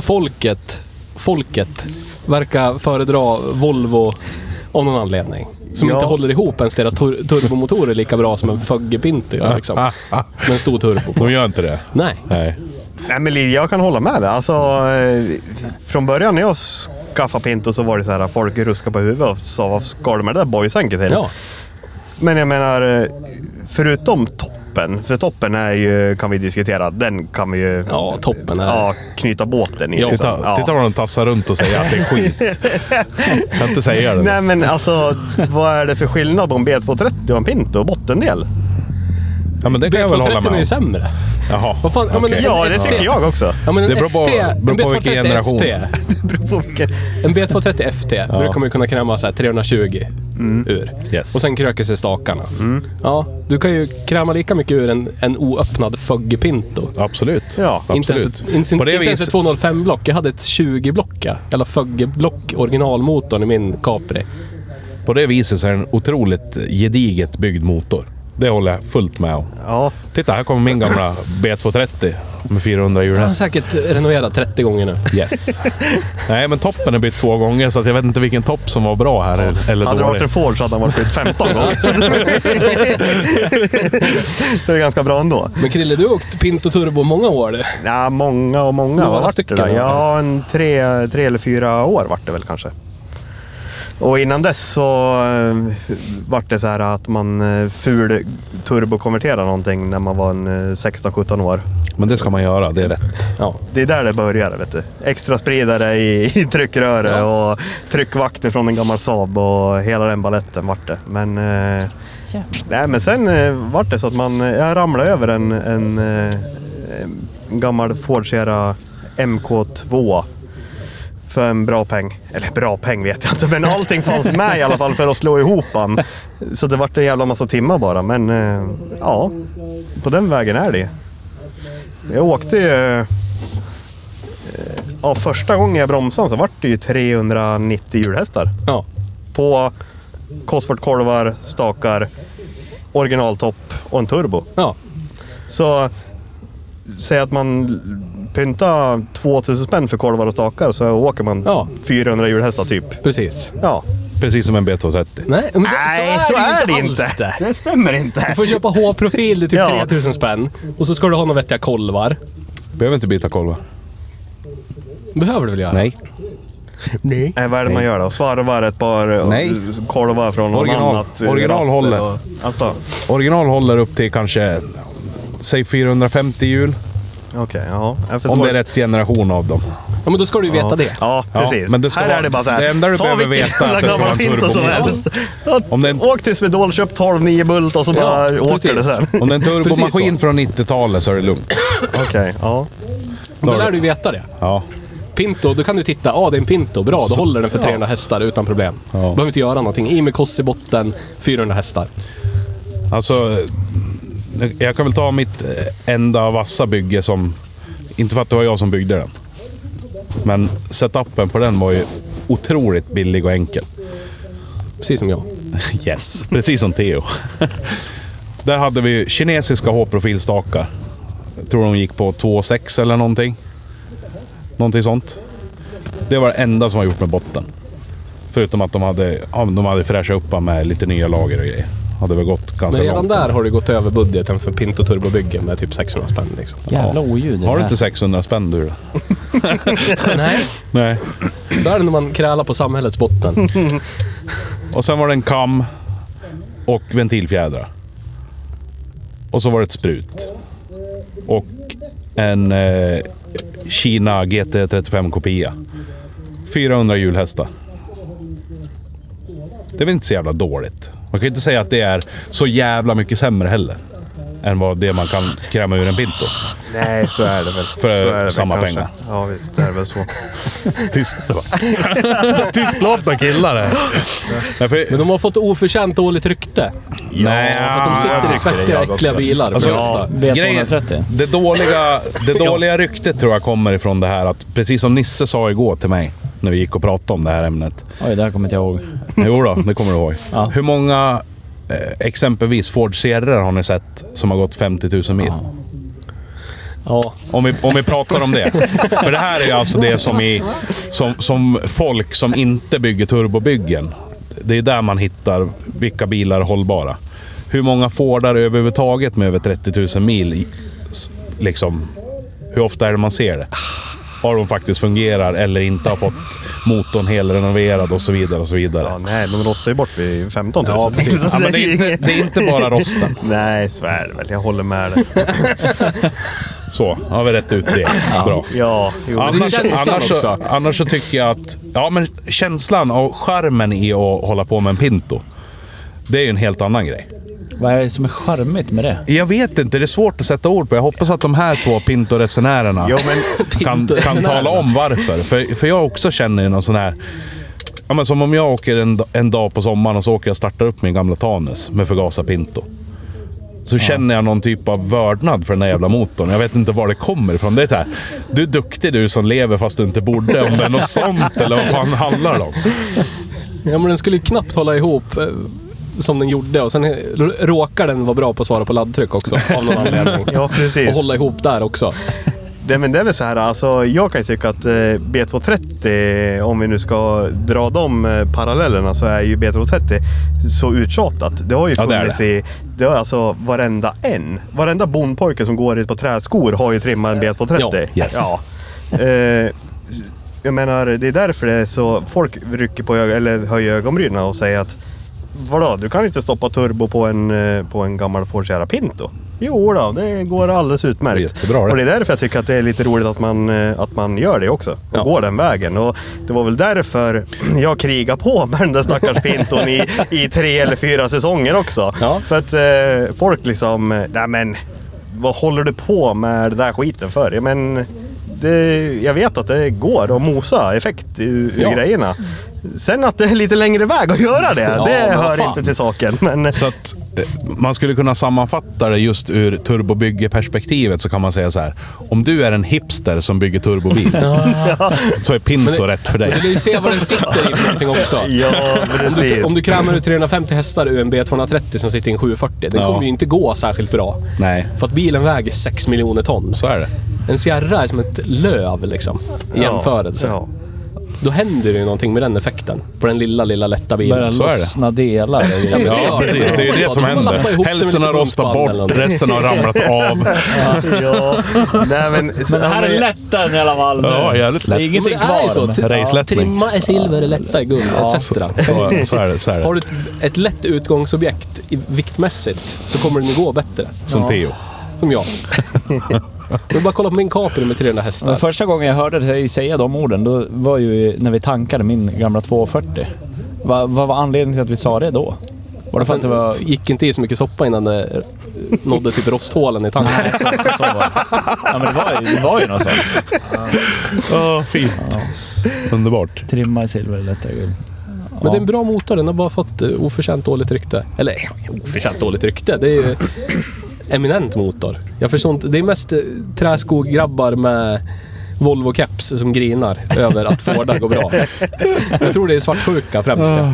Folket, folket verkar föredra Volvo av någon anledning. Som Ja. inte håller ihop ens deras tur- turbomotorer lika bra som en Fögge Pinto gör liksom. Med en stor turbo. De gör inte det. Nej. Nej. Nej, men Liv, jag kan hålla med dig. Alltså, eh, från början när jag skaffade Pinto så var det så här folk ruskade på huvudet och sa vad ska du med det där boysänket till? Ja. Men jag menar, eh, förutom toppen, för toppen är ju, kan vi diskutera, den kan vi ju ja, toppen är... ja, knyta båten i. Ja. liksom. Titta, titta vad de tassar runt och säger att det är skit. kan inte säga det. Nej men alltså, vad är det för skillnad på en B230 och en Pinto och bottendel? Ja, men det kan jag väl hålla B230 är ju med om. sämre. Jaha. Vad fan, ja, men- okej. Ja, det Ja. tycker jag också. Ja, men en Det beror på- FT, beror på en vilken B230 generation. FT. <laughs> beror på vilken... En B230 FT brukar man ju kunna kräma så här 320 Mm. ur. Yes. Mm. Och sen kröker sig stakarna. Ja, du kan ju kräma lika mycket ur en, en oöppnad Fögge Pinto. Absolut. Ja. Inte ens, Absolut. ett- inte, På det inte ens ett vis- 205-block. Jag hade ett 20-block, ja. Eller Fögge-block, originalmotorn i min Capri. På det viset så är det en otroligt gediget byggd motor. Det håller jag fullt med om. Ja, Titta, här kommer min gamla B230 med 400 Den har hjulhäst. säkert renoverat 30 gånger nu. Yes. Nej, men toppen är bytt två gånger så att jag vet inte vilken topp som var bra här eller hade det varit dålig. en Ford så hade han varit skjut 15 gånger. <laughs> så det är ganska bra ändå. Men Krille, du har åkt Pinto Turbo många år du. Ja, många och många. Några Vad vart det stycken där? i alla fall. Ja, en tre, tre eller fyra år vart det väl kanske. Och innan dess så eh, vart det så här att man eh, ful turbokonverterade någonting när man var en eh, 16-17 år. Men det ska man göra, det är rätt. Ja. Det är där det började vet du. Extra spridare i, <laughs> i tryckröre och tryckvakter från en gammal Saab och hela den balletten vart det. Men, eh, nej, men sen eh, vart det så att man, eh, jag ramlade över en, en, eh, en gammal Ford Sierra MK2 för en bra peng. Eller bra peng vet jag inte, men allting fanns med i alla fall för att slå ihop han. Så det vart en jävla massa timmar bara, men eh, ja, på den vägen är det. Jag åkte ju... eh, Ja, första gången jag bromsade så vart det ju 390 hjulhästar. Ja. På Cosworth-kolvar, stakar, originaltopp och en turbo. ja. Så säg att man pyntar 2000 spänn för kolvar och stakar så åker man Ja. 400 hjulhästar typ. Precis. Ja. Precis som en B230. Nej, men det, alls Det stämmer inte. Du får köpa H-profil, det är typ Ja. 3000 spänn. Och så ska du ha några vettiga kolvar. Behöver inte byta kolvar. behöver du väl göra? Nej. Nej. Nej, vad är det man gör då? Svarvar ett par Nej. kolvar från någon Original- annat? eh, original rass håller. och- Alltså, Original håller upp till kanske, säg 450 hjul. okej. ja. Jag Om förstår. det är rätt generation av dem. Ja, men då ska du ju veta det. Ja, Ja, precis. <laughs> men det ska här vara- är det bara så här. det enda du ta behöver vilken veta är att jävla det ska vara gammal en pinto som turbomotor. helst. Om det är en- Åk till Swedol, köp 12 9 bult och så Ja, bara åker det precis. sen. <laughs> Om det är en turbomaskin Precis från 90-talet så är det lugnt. Okej, ja. Då lär du ju veta det. Ja. Pinto, då kan du titta. Ja, ah, det är en Pinto. Bra, då håller den för 300 hästar utan problem. Behöver inte göra någonting. I med koss i botten, 400 hästar. Alltså, jag kan väl ta mitt eh, enda vassa bygge som... Inte för att det var jag som byggde den. Men setupen på den var ju otroligt billig och enkel. Precis som jag. <laughs> Yes. Precis som Theo. <laughs> Där hade vi ju kinesiska H-profilstakar. Jag tror de gick på 2,6 eller någonting. Någonting sånt. Det var det enda som var gjort med botten. Förutom att de hade, ja, de hade fräschat upp den med lite nya lager och grejer. hade väl gått ganska Men redan långt. där har du gått över budgeten för Pinto Turbo-byggen med typ 600 spänn. Liksom. Jävla oljud. det Har du där. inte 600 spänn du då? <laughs> Nej. Nej. Så är det när man krälar på samhällets botten. Och sen var det en kam och ventilfjädrar. Och så var det ett sprut. Och en eh, Kina GT35 kopia. 400 hjulhästar. Det är väl inte så jävla dåligt. Man kan ju inte säga att det är så jävla mycket sämre heller. Än vad det man kan kräma ur en Pinto. Nej, så är det väl. För Så är det väl samma kanske. <laughs> pengar. Ja, visst. Det är väl så. Tystnad va? <laughs> Tystlåtna killar det. Nej, för, Men de har fått oförtjänt dåligt rykte. nej, För att de sitter i svettiga, äckliga bilar. för Alltså, det mesta. B230. grejen, det dåliga, det dåliga ryktet tror jag kommer ifrån det här att, precis som Nisse sa igår till mig, när vi gick och pratade om det här ämnet. Oj, det här kommer inte jag ihåg. <laughs> Jo då, det kommer du ihåg. Ja. Hur många, eh, exempelvis Ford Sierra har ni sett som har gått 50 000 mil? Ja. Om vi, om vi pratar om det. För det här är ju alltså det som, i, som, som folk som inte bygger turbobyggen. Det är där man hittar vilka bilar är hållbara. Hur många Fordar överhuvudtaget med över 30 000 mil, i- s- liksom, hur ofta är det man ser det? Har de faktiskt fungerar eller inte har fått motorn helrenoverad och så vidare. Och så vidare. Ja, nej, de rostar ju bort vid 15 000. Ja, <laughs> Ja, men det, är inte, det är inte bara rosten. Nej, så är det väl. Jag håller med dig. Så, har vi rätt ut det. Bra. Ja, jo. Annars, känslan annars, så, också. annars så tycker jag att ja, men känslan och charmen i att hålla på med en Pinto, det är ju en helt annan grej. Vad är det som är charmigt med det? Jag vet inte, det är svårt att sätta ord på. Jag hoppas att de här två Pinto-resenärerna Jo, men kan, kan tala om varför. För, för jag också känner ju någon sån här... Ja, men som om jag åker en, da- en dag på sommaren och så åker jag och startar upp min gamla Tanus med förgasad Pinto. Så känner jag någon typ av vördnad för den där jävla motorn. Jag vet inte var det kommer ifrån. Det är så här, du är duktig du som lever fast du inte borde. Om det är något sånt eller vad fan handlar det om? ja, men den skulle ju knappt hålla ihop eh, som den gjorde och sen eh, råkar den vara bra på att svara på laddtryck <laughs> också av någon anledning. ja, Och precis. hålla ihop där också. Det, men det är väl så här, alltså, jag kan ju tycka att eh, B230, om vi nu ska dra de eh, parallellerna, så är ju B230 så uttjatat. Det har ju Ja, det är funnits det. i det har alltså varenda en. Varenda bondpojke som går i ett par träskor har ju trimmat en B230. Ja, yes. Ja. Eh, s- jag menar, det är därför det är så folk rycker på ög- eller höjer ögonbrynen och säger att Vadå, du kan inte stoppa turbo på en, eh, på en gammal Ford Sierra Pinto? Jo då, det går alldeles utmärkt. Jättebra det. Och det är därför jag tycker att det är lite roligt att man, eh, att man gör det också. Och Ja. går den vägen. Och det var väl därför <clears throat> jag krigade på med den <laughs> där stackars Pinton i, i tre eller fyra säsonger också. Ja. För att eh, folk liksom, eh, nej men vad håller du på med den där skiten för? Ja, men, det, jag vet att det går att mosa effekt ur, ur grejerna. Sen att det är lite längre väg att göra det, Ja, det men vad hör fan. inte till saken. Men Så att eh, man skulle kunna sammanfatta det just ur turbobyggeperspektivet så kan man säga så här. Om du är en hipster som bygger turbobil så är Men Pinto det- rätt för Men dig. du vill ju se vad den sitter i för någonting också. <laughs> <laughs> ja, precis. Om du krämar ut 350 hästar ur en B230 som sitter i en 740, den Ja. kommer ju inte gå särskilt bra. Nej. För att bilen väger 6 miljoner ton. Så är det. En Sierra är som ett löv liksom, i Ja, jämförelse. Ja. Då händer det ju någonting med den effekten. På den lilla, lilla lätta Börjar bilen. så är det. lossna delar. och grejer. <laughs> Ja, precis. Det är ju Ja, det som du får lappa ihop det händer. med Hälften lite har rostat bromsband eller bort, något. resten har ramlat av. Ja. Nej, men, Men det här är lätten i alla fall. nu. Ja, jävligt lätt. Det är ingenting Men det är ju så. kvar. men- Tri- Racelättning. Trimma är silver, det lätta är guld, etc. Så, så är det. Så är Har det. du ett, ett lätt utgångsobjekt i, viktmässigt så kommer den ju gå bättre. Som Theo. Som <laughs> jag. Men bara kolla på min Capri med 300 hästar. Men första gången jag hörde dig säga de orden, då var ju när vi tankade min gamla 240. Va, vad var anledningen till att vi sa det då? Var det för att det var... Den gick inte i så mycket soppa innan det eh, nådde typ rosthålen i tanken. Så, så var det. Ja, men det var ju, det var ju något sånt. Ja, fint. Underbart. Trimma i silver eller lättare guld. Men det är en bra motor, den har bara fått eh, oförtjänt dåligt rykte. Eller eh, oförtjänt dåligt rykte, det är ju eminent motor. Jag förstår inte, det är mest eh, träskograbbar med Volvo caps som grinar över att Fordar går bra. Jag tror det är svartsjuka främst. ja.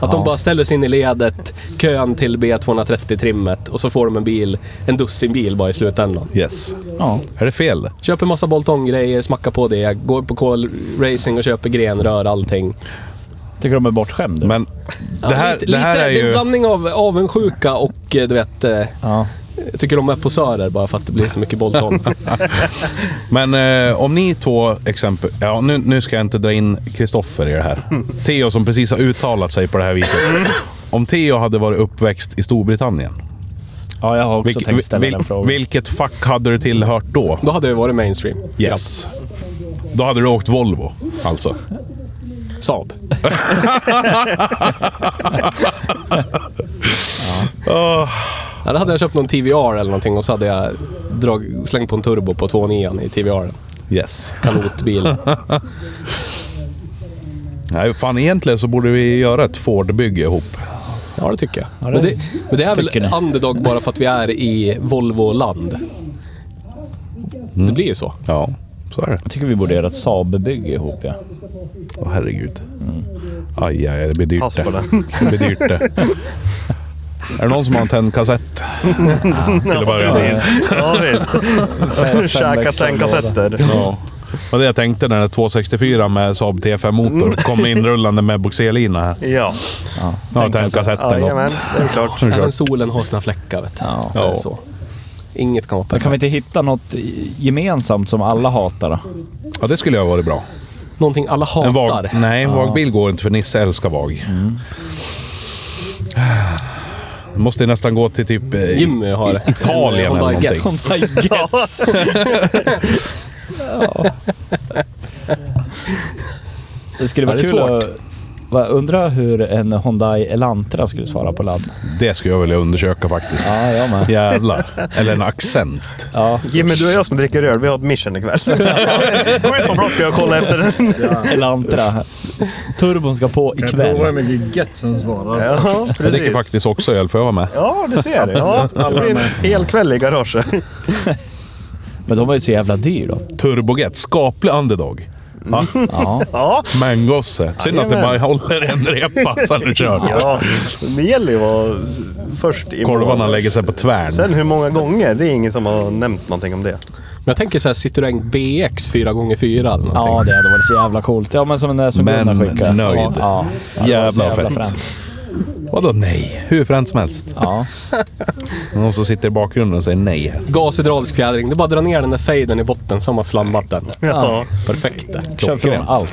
Att de bara ställer sig in i ledet, kön till B230-trimmet och så får de en bil, en dussin bil bara i slutändan. Yes. Ja. Är det fel? Köper massa bolt-on-grejer, smackar på det, går på Call Racing och köper grenrör, allting. Tycker de är bortskämda? Men det här, lite, det här lite, är det en ju... blandning av avundsjuka och eh, du vet... eh, Ja. Jag tycker de är posörer bara för att det blir så mycket Bolton. Men eh, om ni två exempel... Ja, nu, nu ska jag inte dra in Kristoffer i det här. Theo som precis har uttalat sig på det här viset. Om Theo hade varit uppväxt i Storbritannien, ja, jag har också vilk- tänkt ställa vil- den frågan. vilket fack hade du tillhört då? Då hade jag varit mainstream. Yes. Då hade du åkt Volvo, alltså. Saab. Åh, Ja, då hade jag köpt någon TVR eller någonting och så hade jag drag, slängt på en turbo på 2.9 i TVR. yes. Kanotbil. Nej, fan egentligen så borde vi göra ett Ford-bygge ihop. Ja, det tycker jag. det men, det, men det är väl tycker ni. underdog bara för att vi är i Volvo-land. Det blir ju så. Ja, så är det. Jag tycker vi borde göra ett Saab-bygge ihop. Ja. Åh herregud. Aj, aj, det blir dyrt Pass på det. den. <laughs> Det blir dyrt det. Är det någon som har en tändkassett? Till att börja med. Ja, visst. Käka tändkassetter. Ja. Och det jag tänkte när den 264 med Saab Mm. T5-motor kom inrullande med bogserlina här. Ja, Ja, Ja, tändkassetten. jajamän. något. Det är klart. Även solen har sina fläckar, vet du. Ja. Det är så. Inget kan vara Men kan vi perfekt. inte hitta något gemensamt som alla hatar? Då? Ja, det skulle ju ha varit bra. Någonting alla En hatar. vag, nej, en vagbil går inte för Nisse älskar vag. Måste ju nästan gå till typ eh, Jimmy har en Italien eller Honda någonting. Gets. Honda Gets. Det skulle vara Ja, det är kul att... Va, undra hur en Hyundai Elantra skulle svara på ladd. Det skulle jag vilja undersöka faktiskt. Ja, jag med. Jävlar. Eller en accent. Ja, Jimmy, du och jag som dricker öl, vi har ett <laughs> mission ikväll. Gå ut på Blocket och kolla efter den. Elantra. Turbon ska på Jag provar hur ikväll. mycket Getsen svarar. Ja, Jag dricker precis. faktiskt också öl, för jag vara med? Ja, du ser. det. Ja, det blir en hel kväll i garaget. Men de är ju så jävla dyr då. Turbogett, skaplig underdog. Ja, Ja. Ja, men gosse. Synd att det bara Jajamän. håller en repa sen du kört. ja. det gäller ju att vara först i Korvarna mål. lägger sig på tvärn. Sen hur många gånger, det är ingen som har nämnt någonting om det. Men jag tänker så här Citroën BX 4x4 eller någonting. ja, det hade varit så jävla coolt. Ja, men som den där som Men Gunnar skickade. nöjd. Ja, ja. det var så Jävla fett. fränt. Vadå nej? Hur fränt som helst. Ja. <laughs> Någon som sitter i bakgrunden och säger nej. Gasedradisk fjädring. Det är bara att dra ner den där fejden i botten som har slammat den. Perfekt. det. Kör från Klockrent. allt.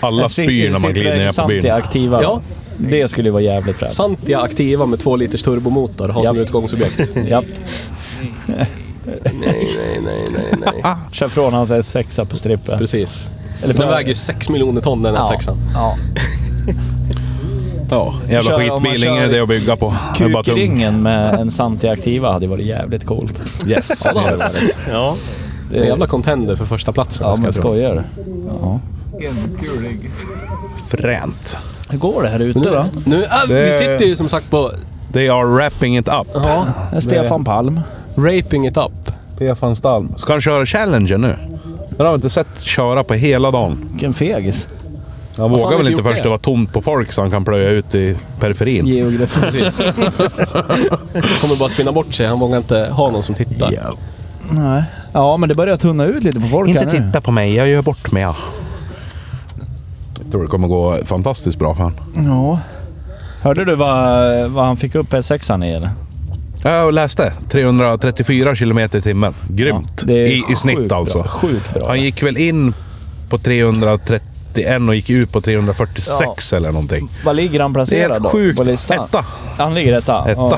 Alla spyr när man glider ner på byn. Santi aktiva. Ja. Det skulle ju vara jävligt fränt. Santia Activa med 2 liters turbomotor har som Japp. utgångsobjekt. Ja. nej, nej, nej, nej, nej. Kör från hans S6 på strippen. Precis. Ah. Eller på- den väger ju 6 miljoner ton den här sexan. Ja. Ja, jävla Kör- om man skitbil. kör Ingen idé att bygga på. Den är bara tung. Kukringen med en Santi Activa hade varit jävligt coolt. <laughs> Yes. det är det. Ja, Det är en jävla contender för första platsen. Ja, ska men jag tro. skojar du? Fränt. Hur går det här Men ute då? Nu, nu, äh, Det- Vi sitter ju som sagt på They are wrapping it up. ja, Här är Stefan Palm. raping it up. Stefan Stalm. Ska han köra Challenger nu? Den har vi inte sett köra på hela dagen. Vilken fegis. Han fan har vågar väl vi inte gjort det? först det var tomt på folk så han kan plöja ut i periferin. Geografi. Kommer bara spinna bort sig. Han vågar inte ha någon som tittar. Nej. Ja, men det börjar tunna ut lite på folk här nu. på mig, jag gör bort mig. ja. Jag tror det kommer gå fantastiskt bra för han. Ja. Hörde du vad, vad han fick upp S6 i eller? Jag läste 334 kilometer i timmen. Grymt! Ja, det är I, I sjukt snitt bra. alltså. Sjukt bra. Han gick väl in på 331 och gick ut på 346 eller någonting. Vad ligger han Det är placerad helt då sjukt. på listan? Etta. Han ligger etta. Etta. Mm.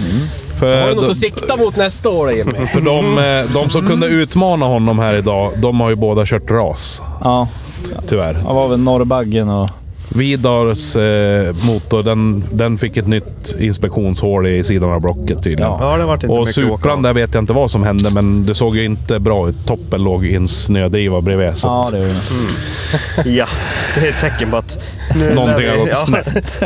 Ja. För Har du något då- att sikta mot nästa år, Jimmy? För de, eh, de Mm. som kunde utmana honom här idag, de har ju båda kört ras. ja. Tyvärr. Han var väl Norrbaggen och... Vidars eh, motor, den, den fick ett nytt inspektionshål i sidan av blocket tydligen. ja det vart inte Och mycket att åka Supran av. där vet jag inte vad som hände, men det såg ju inte bra ut. Toppen låg i en snödriva bredvid. Så Ja, att det är ju... Ja, det är ett tecken på att nu någonting lär har vi- gått ja, snett.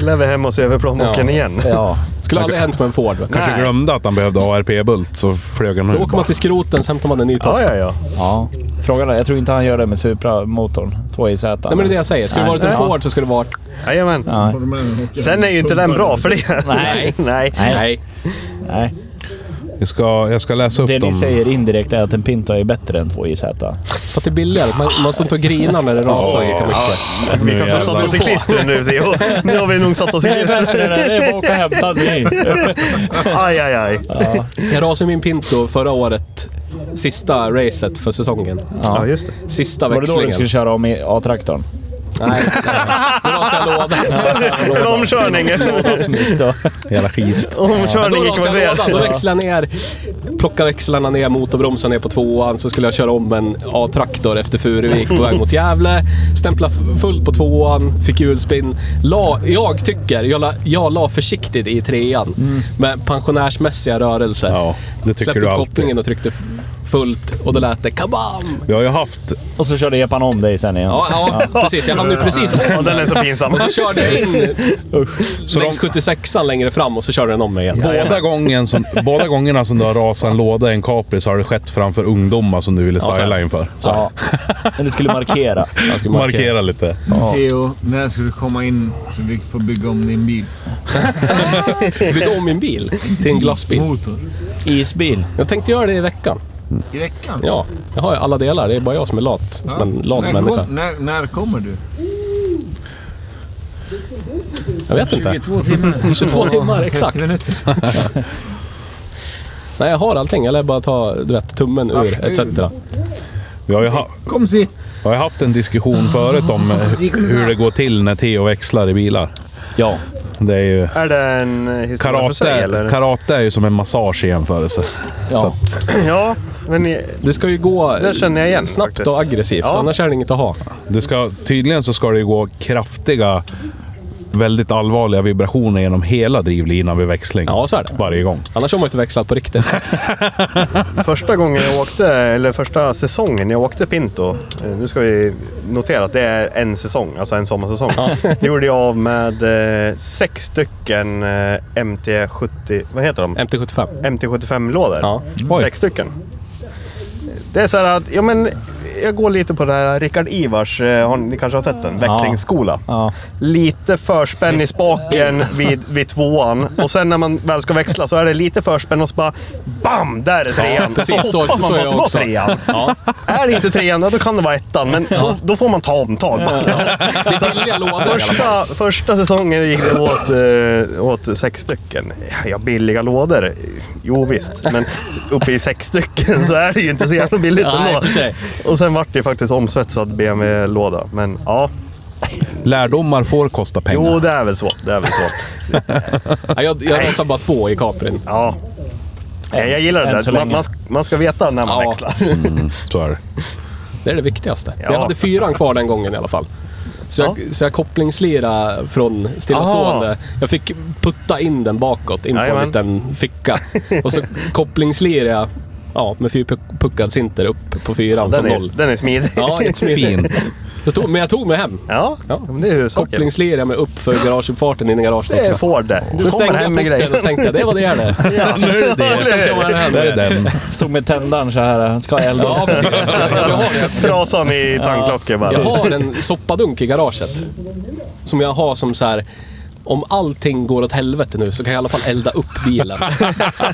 lär vi hem oss över plånboken igen. Ja. Skulle aldrig hänt med en Ford. Vet du. Kanske Nej. glömde att han behövde ARP-bult, så flög han Då ut. åker bara. man till skroten, så hämtar man en ny topp. Ja, ja, ja. ja. Frågan är, jag tror inte han gör det med Supra-motorn. 2JZ. Nej, men det är det jag säger. Skulle det varit en Ja. Ford så skulle det varit... Jajamän. Nej. <laughs> Sen är ju inte den bra för det. Nej. Nej. Nej. Nej. Jag ska, jag ska läsa upp Det ni dem. säger indirekt är att en Pinto är bättre än 2JZ. För att det är billigare. Man, man står inte och grinar när det rasar lika mycket. Vi kanske har satt oss i klistren nu, Theo. Nu har vi nog satt oss i klistren. det är bara att åka och hämta dig. Aj, aj, aj. Jag rasade min Pinto förra året. Sista racet för säsongen. Ja, just det. Sista Var det då du växlingen. skulle köra om i A-traktorn? Nej, det var så jag <laughs> lovade. En omkörning. Jävla skit. Omkörning Då gick rasade vi jag ner. lådan. Då växlade jag ner. Plockade växlarna ner, motorbromsar ner på tvåan. Så skulle jag köra om en A-traktor efter Furuvik på väg mot Gävle. Stämpla f- fullt på tvåan, fick hjulspinn. La, jag tycker, jag la, jag la försiktigt i trean med pensionärsmässiga rörelser. Ja, det tycker Släppte du upp alltid. kopplingen och tryckte f- fullt och då lät det kabam! Vi har ju haft... Och så körde epan om dig sen igen. Ja, <laughs> ja precis. Jag hamnade ju precis om. Ja, den är så pinsam. Och så körde jag in Så de, längs 76an längre fram och så körde den om mig igen. båda, gången som, båda gångerna som du har rasat en låda i en Capri så har det skett framför ungdomar som du ville Ja, så- styla inför. Så Ja. Men du skulle markera. Jag skulle markera. markera lite. Theo, när ska du komma in så vi får bygga om din bil? Byggde om min bil till en glassbil. Motor. Isbil. Jag tänkte göra det i veckan. I veckan? Ja, jag har ju alla delar. Det är bara jag som är lat. Som en lat När, människa. kom, när, när kommer du? Jag vet inte. 22 <laughs> timmar? 22 timmar, exakt. 30 minuter. <laughs> Nej, jag har allting. Jag lär bara ta du vet, tummen ur etc. Vi har ju, ha, Kom se! Ah, vi har ju haft en diskussion förut om eh, hur det går till när Theo växlar i bilar. Ja. Det är ju... Är det en historia för sig, Karate, eller? karate är ju som en massage i jämförelse. Så ja. att, Ja, men ni- Det ska ju gå Där känner jag igen snabbt faktiskt. och aggressivt. Ja. Annars är det inget att ha. det ska, tydligen så ska det ju gå kraftiga, väldigt allvarliga vibrationer genom hela drivlinan vid växling. Ja, så är det. Varje gång. Annars har man inte växlat på riktigt. <laughs> första gången jag åkte, eller första säsongen jag åkte Pinto. eh, Nu ska vi notera att det är en säsong, alltså en sommarsäsong. Det gjorde jag av med eh, sex stycken eh, MT70, vad heter de? MT75. MT75-lådor. Ja. Sex stycken. Det är så här att, ja men, jag går lite på det här Rickard Ivars, eh, har, ni kanske har sett den? Väcklingsskola. Ja. Lite förspänn i spaken vid, vid tvåan och sen när man väl ska växla så är det lite förspänn och så bara BAM! Där är trean! precis, så så- hoppas man så är på att jag det var också. trean. Ja. Är det inte trean, ja, då kan det vara ettan. Men då, då får man ta omtag. Det är billiga lådor i alla fall. Första, första säsongen gick det åt, eh, åt sex stycken. Ja, billiga lådor. Jo visst, men uppe i sex stycken så är det ju inte så <laughs> jävla billigt Nej, i ändå. och för sig. Och sen vart det ju faktiskt omsvetsad BMW-låda. Men ja, Lärdomar får kosta pengar. jo det är väl så. Det är väl så. Nej, Jag, jag rasade bara två i Caprin. Ja. Nej, jag gillar Än det så där. Man, länge. man, ska, man ska veta när man Ja. växlar. Så är det. Det är det viktigaste. Ja. Jag hade fyran kvar den gången i alla fall. Så jag, så jag kopplingslirade från stillastående. Aha. Jag fick putta in den bakåt, in på en Jajamän. liten ficka. Och så kopplingslirade jag ja, med fyrpuckad sinter upp på fyran Den från är, noll. den är smidig. Ja, jättesmidigt. Fint. Jag tog, men jag tog mig hem. Ja, Ja. men det är huvudsaken. Kopplingslirade mig upp för garageuppfarten in i garaget Det är också. Ford det. Du Sen kommer stängde jag hem med porten grejer. och så tänkte jag, det var det det. <laughs> Ja, nu är Jag tog mig hem. Där är den. Stod med tändaren så här. Ska jag elda? Ja, precis. <laughs> Jag, jag, har det. Trasan i tanklocket bara. Jag har en soppadunk i garaget. Som jag har som så här. Om allting går åt helvete nu så kan jag i alla fall elda upp bilen.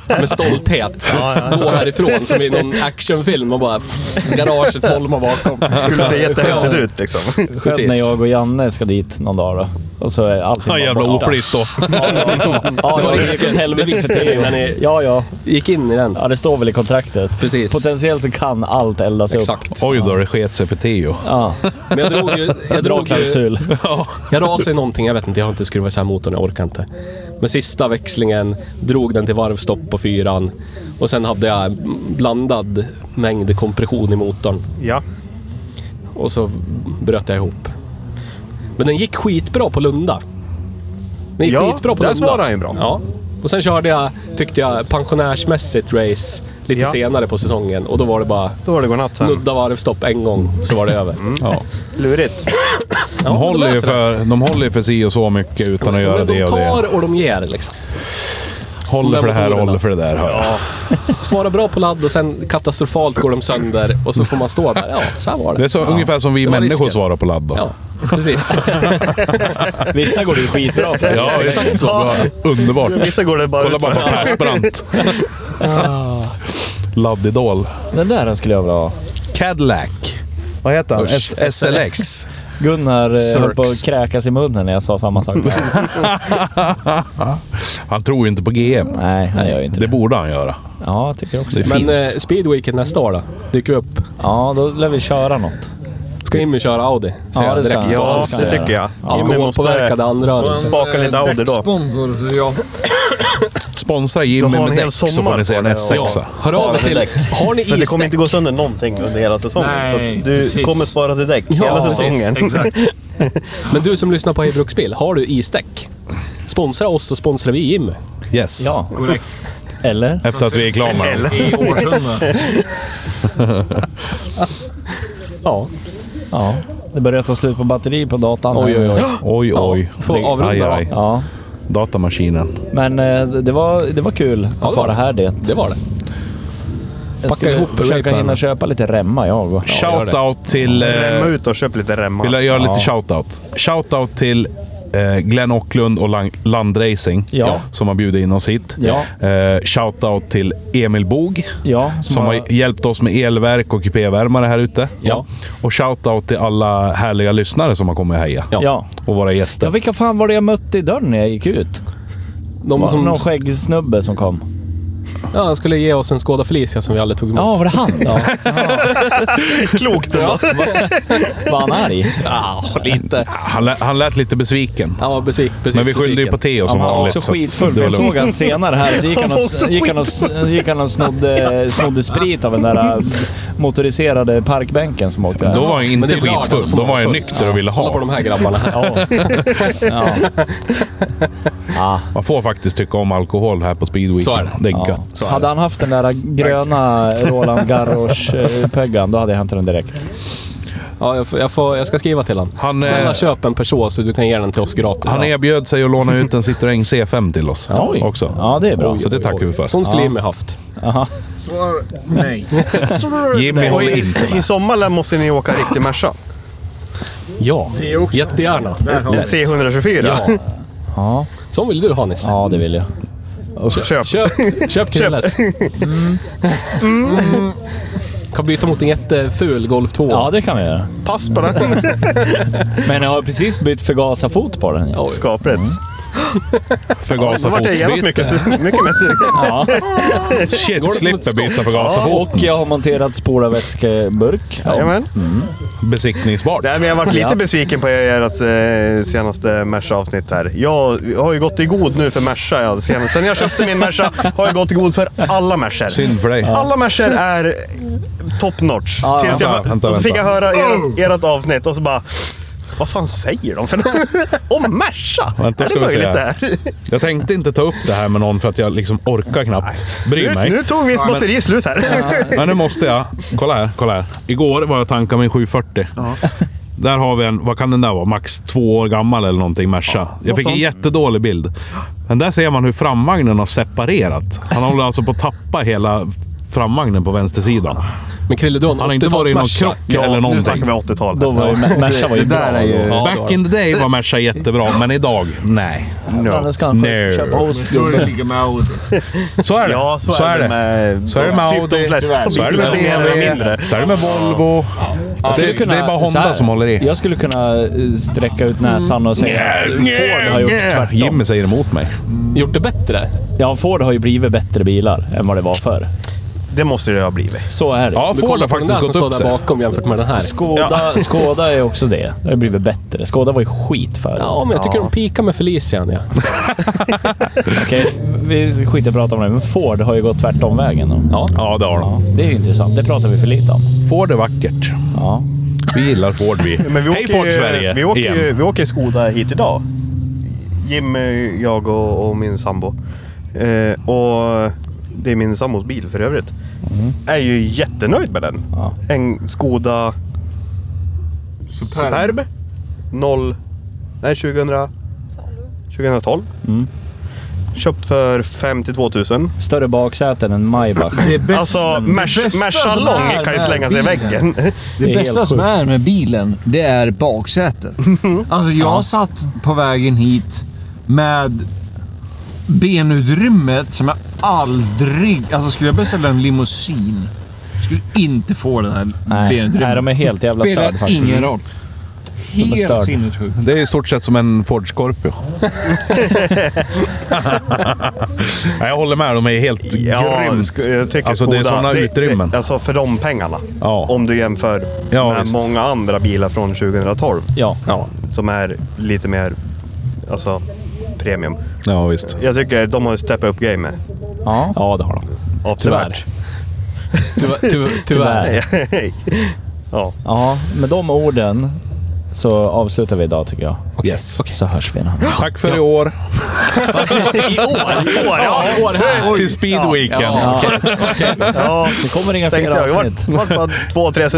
Med stolthet. Gå härifrån som i någon actionfilm och bara... Garaget holmar bakom. skulle se jättehäftigt ut liksom. Skönt när precis. jag och Janne ska dit någon dag då. Och så är allting Ja, bara jävla borta. oflytt då. Ja, Det var ja, risken. det, Det visste ni innan ni- Ja, ja. Gick in i den. Ja, det står väl i kontraktet. Precis. Potentiellt så kan allt eldas upp. Exakt. Oj då, det sket sig för Theo. Ja, Men jag drog ju... Jag, bra drog ju, klausul. jag rasade i någonting, jag vet inte. Jag har inte skruvat isär motorn, jag orkar inte. Men sista växlingen, drog den till varvstopp på fyran. Och sen hade jag en blandad mängd kompression i motorn. Ja. Och så bröt jag ihop. Men den gick skitbra på Lunda. Den gick Ja, skitbra på där Lunda. svarade han ju bra. Ja. Och sen körde jag, tyckte jag, pensionärsmässigt race lite Ja. senare på säsongen. Och då var det bara Då var det godnatt sen. nudda varvstopp en gång, så var det över. Ja. Lurigt. Ja, De då håller ju löser det. för, de håller ju för si och så mycket utan att göra Men det de och det. tar och de ger liksom. Håller för det här och Motorerna. håller för det där, hör jag. Svara bra på ladd och sen katastrofalt går de sönder och så får man stå där. Ja, så här var det. Det är så, ungefär som vi Det var människor risken. svarar på ladd då. Ja, precis. <laughs> Vissa går det ju skitbra för. Ja, exakt så. Bra. Underbart. Vissa går det bara Kolla ut bara på för. <laughs> Persbrandt. Laddidol. Den där skulle jag vilja ha. Cadillac. Vad heter han? S- Usch, SLX. Gunnar eh, höll på att Cirks. kräkas i munnen när jag sa samma <laughs> sak. Han tror ju inte på GM. Nej, han gör ju inte Det det. borde han göra. Ja, jag tycker också det. Men eh, Speedweeken nästa år då? Dyker vi upp? Ja, då lär vi köra något. Ska Jimmy köra Audi? Ser Ja, jag det ska direkt. han. Ja, det ska det han tycker göra. jag. Jimmy Alkoholpåverkade anrörelse. spaka lite Audi då. Sponsor, så ja. Sponsra Då Jimmy har med en hel däck så sommar får ni se på en det och- S6. Hör av er till... Har ni För det kommer inte isdäck? gå sönder någonting under hela säsongen. Nej, så att du precis. kommer spara till däck hela säsongen. Exakt. Men du som lyssnar på Hej Bruksbil, har du isdäck? Sponsra oss så sponsrar vi Jimmy. Yes. Ja, Korrekt. eller? Efter att vi är klara med dem. I Årsunda. Ja. Ja. Det börjar ta slut på batteri på datan. Oj, oj, oj. Oj, oj. Får avrunda, Aj, aj. Ja, Datamaskinen. men eh, det var, det var kul att det var vara det. här det. Det var det. Jag skulle ihop försöka rapen. hinna köpa lite remma jag. Och. Shoutout till... Remma Eh, ut och köp lite vill remmar. jag göra lite shoutout. Shoutout till eh, Glenn Åcklund och Lang- Landracing Ja. som har bjudit in oss hit. Ja. Eh, shoutout till Emil Bog Ja, som, som har... har hjälpt oss med elverk och kupévärmare här ute. Ja. Och shoutout till alla härliga lyssnare som har kommit och hejat. Ja. Ja. Och våra ja, gäster. vilka fan var det jag mötte i dörren när jag gick ut? De Var det som någon skäggsnubbe som kom? ja, han skulle ge oss en Skoda Felicia som vi aldrig tog emot. Ja, var det han? Ja. Klokt ändå. Var han arg? <laughs> Ja, lite. Han, lät, han lät lite besviken. Han var besvik, precis Men vi skyllde ju på Theo som Han var vanligt. också så att skitfull. det för var Jag lugnt. såg han senare här, så gick han och, gick han och, gick han och snodde, snodde sprit av den där äh, motoriserade parkbänken som åkte Då här. var han Men det inte är lördag, då skitfull. får Då man var vara jag full. nykter och ville Kolla på ha. de här <laughs> grabbarna. Ja. Ja. Ja. Man får faktiskt tycka om alkohol här på Så är speedweeken. det. Det Ja. är gött. Så är Hade det. han haft den där gröna Roland Garros-peggan, då hade jag hämtat den direkt. Ja, jag, får, jag, får, jag ska skriva till honom. Han, Snälla eh, köp en Peugeot så du kan ge den till oss gratis. Han erbjöd sig att låna ut en Citroën C5 till oss Oj. också. Ja, det är bra. Så det tackar vi för. Sån skulle Jimmy haft. Svar nej. Jimmy Och håller i, inte. I sommar lär- måste ni åka riktig Merca. Ja, jättegärna. C124. Ja, Sån vill du ha Nisse. ja det vill jag. Köp. Köp, <laughs> köp Krilles. Kan byta mot en jätteful Golf 2. Ja, det kan vi göra. Pass på den. Men jag har precis bytt förgasarfot på den. Skapligt. Då Förgasa vart jag jävligt fotsbyte. mycket, su- mycket mer sugen. Ja. Shit, slipper byta förgasa fot. Och jag har monterat spolarvätskeburk. Jajamän. Besiktningsbart. Nej, men jag har varit lite Ja. besviken på ert eh, senaste Merca-avsnitt här. Jag har ju gått i god nu för Merca. Ja. Sen, sen jag köpte min Merca har jag gått i god för alla Mercor. Synd för dig. Alla Mercor är top notch. Ja, Tills jag, vänta, vänta, och så fick jag vänta. höra ert, ert avsnitt och så bara... Vad fan säger de för något? Om Merca? Vänta, är ska det vi se möjligt det här. här? Jag tänkte inte ta upp det här med någon för att jag liksom orkar knappt bry Nu, mig. nu tog mitt batteri slut här. Men nu måste jag. Kolla här, kolla här. Igår var jag och tankade min 740. Där har vi en, vad kan den där vara? Max två år gammal eller någonting, Merca. jag fick en sånt. jättedålig bild. Men där ser man hur framvagnen har separerat. Han håller alltså på att tappa hela framvagnen på vänstersidan. Men Krille, du har en Han har inte varit i någon 80-talsmatcha. krock eller nu någonting. snackar vi 80-tal. Då var ju, Merca var ju Det där bra är ju- då. Ja, det Eh, Back har in the day var Merca jättebra, men idag, nej. Ja, då ska han No. köpa host. Så är det lika med Audi. Så är det. Ja, så, är det med, Så är det med typ de Audi, flesta så är det med bilar, mer eller mindre. BMW, så är det med Volvo. Det, Skulle kunna- det är bara så här, Honda som håller i. Jag skulle kunna eh, sträcka ut näsan och säga att Ford har gjort tvärtom. Jimmy säger emot mig. Gjort det bättre. Ja, Ford har ju blivit bättre bilar än vad det var förr. Det måste det ha blivit. Så är det. Ja, Du Ford kollar har på den faktiskt där som gått står upp där sig. bakom jämfört med den här. Skoda, <laughs> Skoda är också det. Det har blivit bättre. Skoda var ju skit förut. Ja, men jag tycker de pikar med Felician. Ja. Okej, vi skiter i att prata om det. Men Ford har ju gått tvärtom vägen. då. Ja. Ja, det har de. Ja, det är ju intressant. Det pratar vi för lite om. Ford är vackert. Ja. Vi gillar Ford vi. Men vi åker, Hej Ford ju- Sverige! vi åker, igen. ju- vi åker Skoda hit idag. Jimmy, jag och, och min sambo. Eh, och det är min sambos bil för övrigt. Mm. är ju jättenöjd med den. Ja. En Skoda Superb. Superb. Mm. 0... Nej, 2000, 2012. Köpt för 52 000. Större baksäten än Maybach. <laughs> Det bästa, Alltså, det Merc- bästa Merca som Long är kan ju med slänga sig i bilen. väggen. Det Det, är helt bästa som sjukt. är med bilen, det är baksätet. <laughs> Alltså jag satt på vägen hit med benutrymmet som jag aldrig... Alltså skulle jag beställa en limousin, skulle inte få den här Nej, benutrymmet. nej, de är helt jävla Spelar störd faktiskt. ingen roll. är Helt störd. sinnessjukt. Det är i stort sett som en Ford Scorpio. <laughs> Nej, jag håller med, de är helt grymt. sk- jag tycker alltså det är Skoda, sådana utrymmen. Det, alltså för de pengarna. Ja. Om du jämför Ja, med visst. många andra bilar från 2012 Ja. som är lite mer alltså, premium. Ja, visst. Jag tycker de har steppat upp gamet. ja. Ja, det har de. Avsevärt. Tyvärr. tyvärr. tyvärr. ja. Ja, med de orden så avslutar vi idag tycker jag. Yes. Så hörs vi en annan Tack för i år. <laughs> I år! I år ja. År här. Till Speedweeken. ja, ja. Det kommer inga Tänkte fler jag, det avsnitt. vart, vart bara två, tre,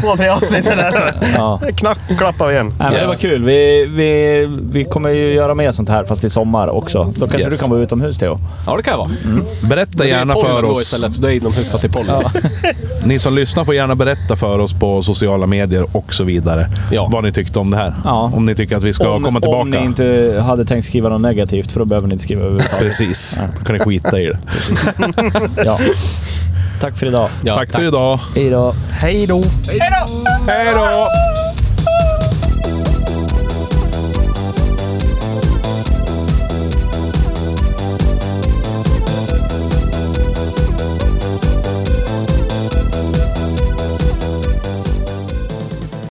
två, tre avsnitt där. Ja. Knack, klappar vi igen. Nej, men det var Yes. kul. Vi, vi, vi kommer ju göra mer sånt här fast i sommar också. Då kanske Yes. du kan vara utomhus Theo. Ja, det kan jag vara. Berätta Det är gärna pollen för då oss. Istället, så det är inomhus för att det är pollen. Ni som lyssnar får gärna berätta för oss på sociala medier och så vidare. Ja. Vad ni tyckte om det här. Ja. Om ni tycker att vi ska komma tillbaka. om ni inte hade tänkt skriva något negativt för då behöver ni inte skriva <laughs> överhuvudtaget. Precis. Då kan ni skita i det. ja. Tack för idag. Ja, tack för idag. Hej då. Hej då!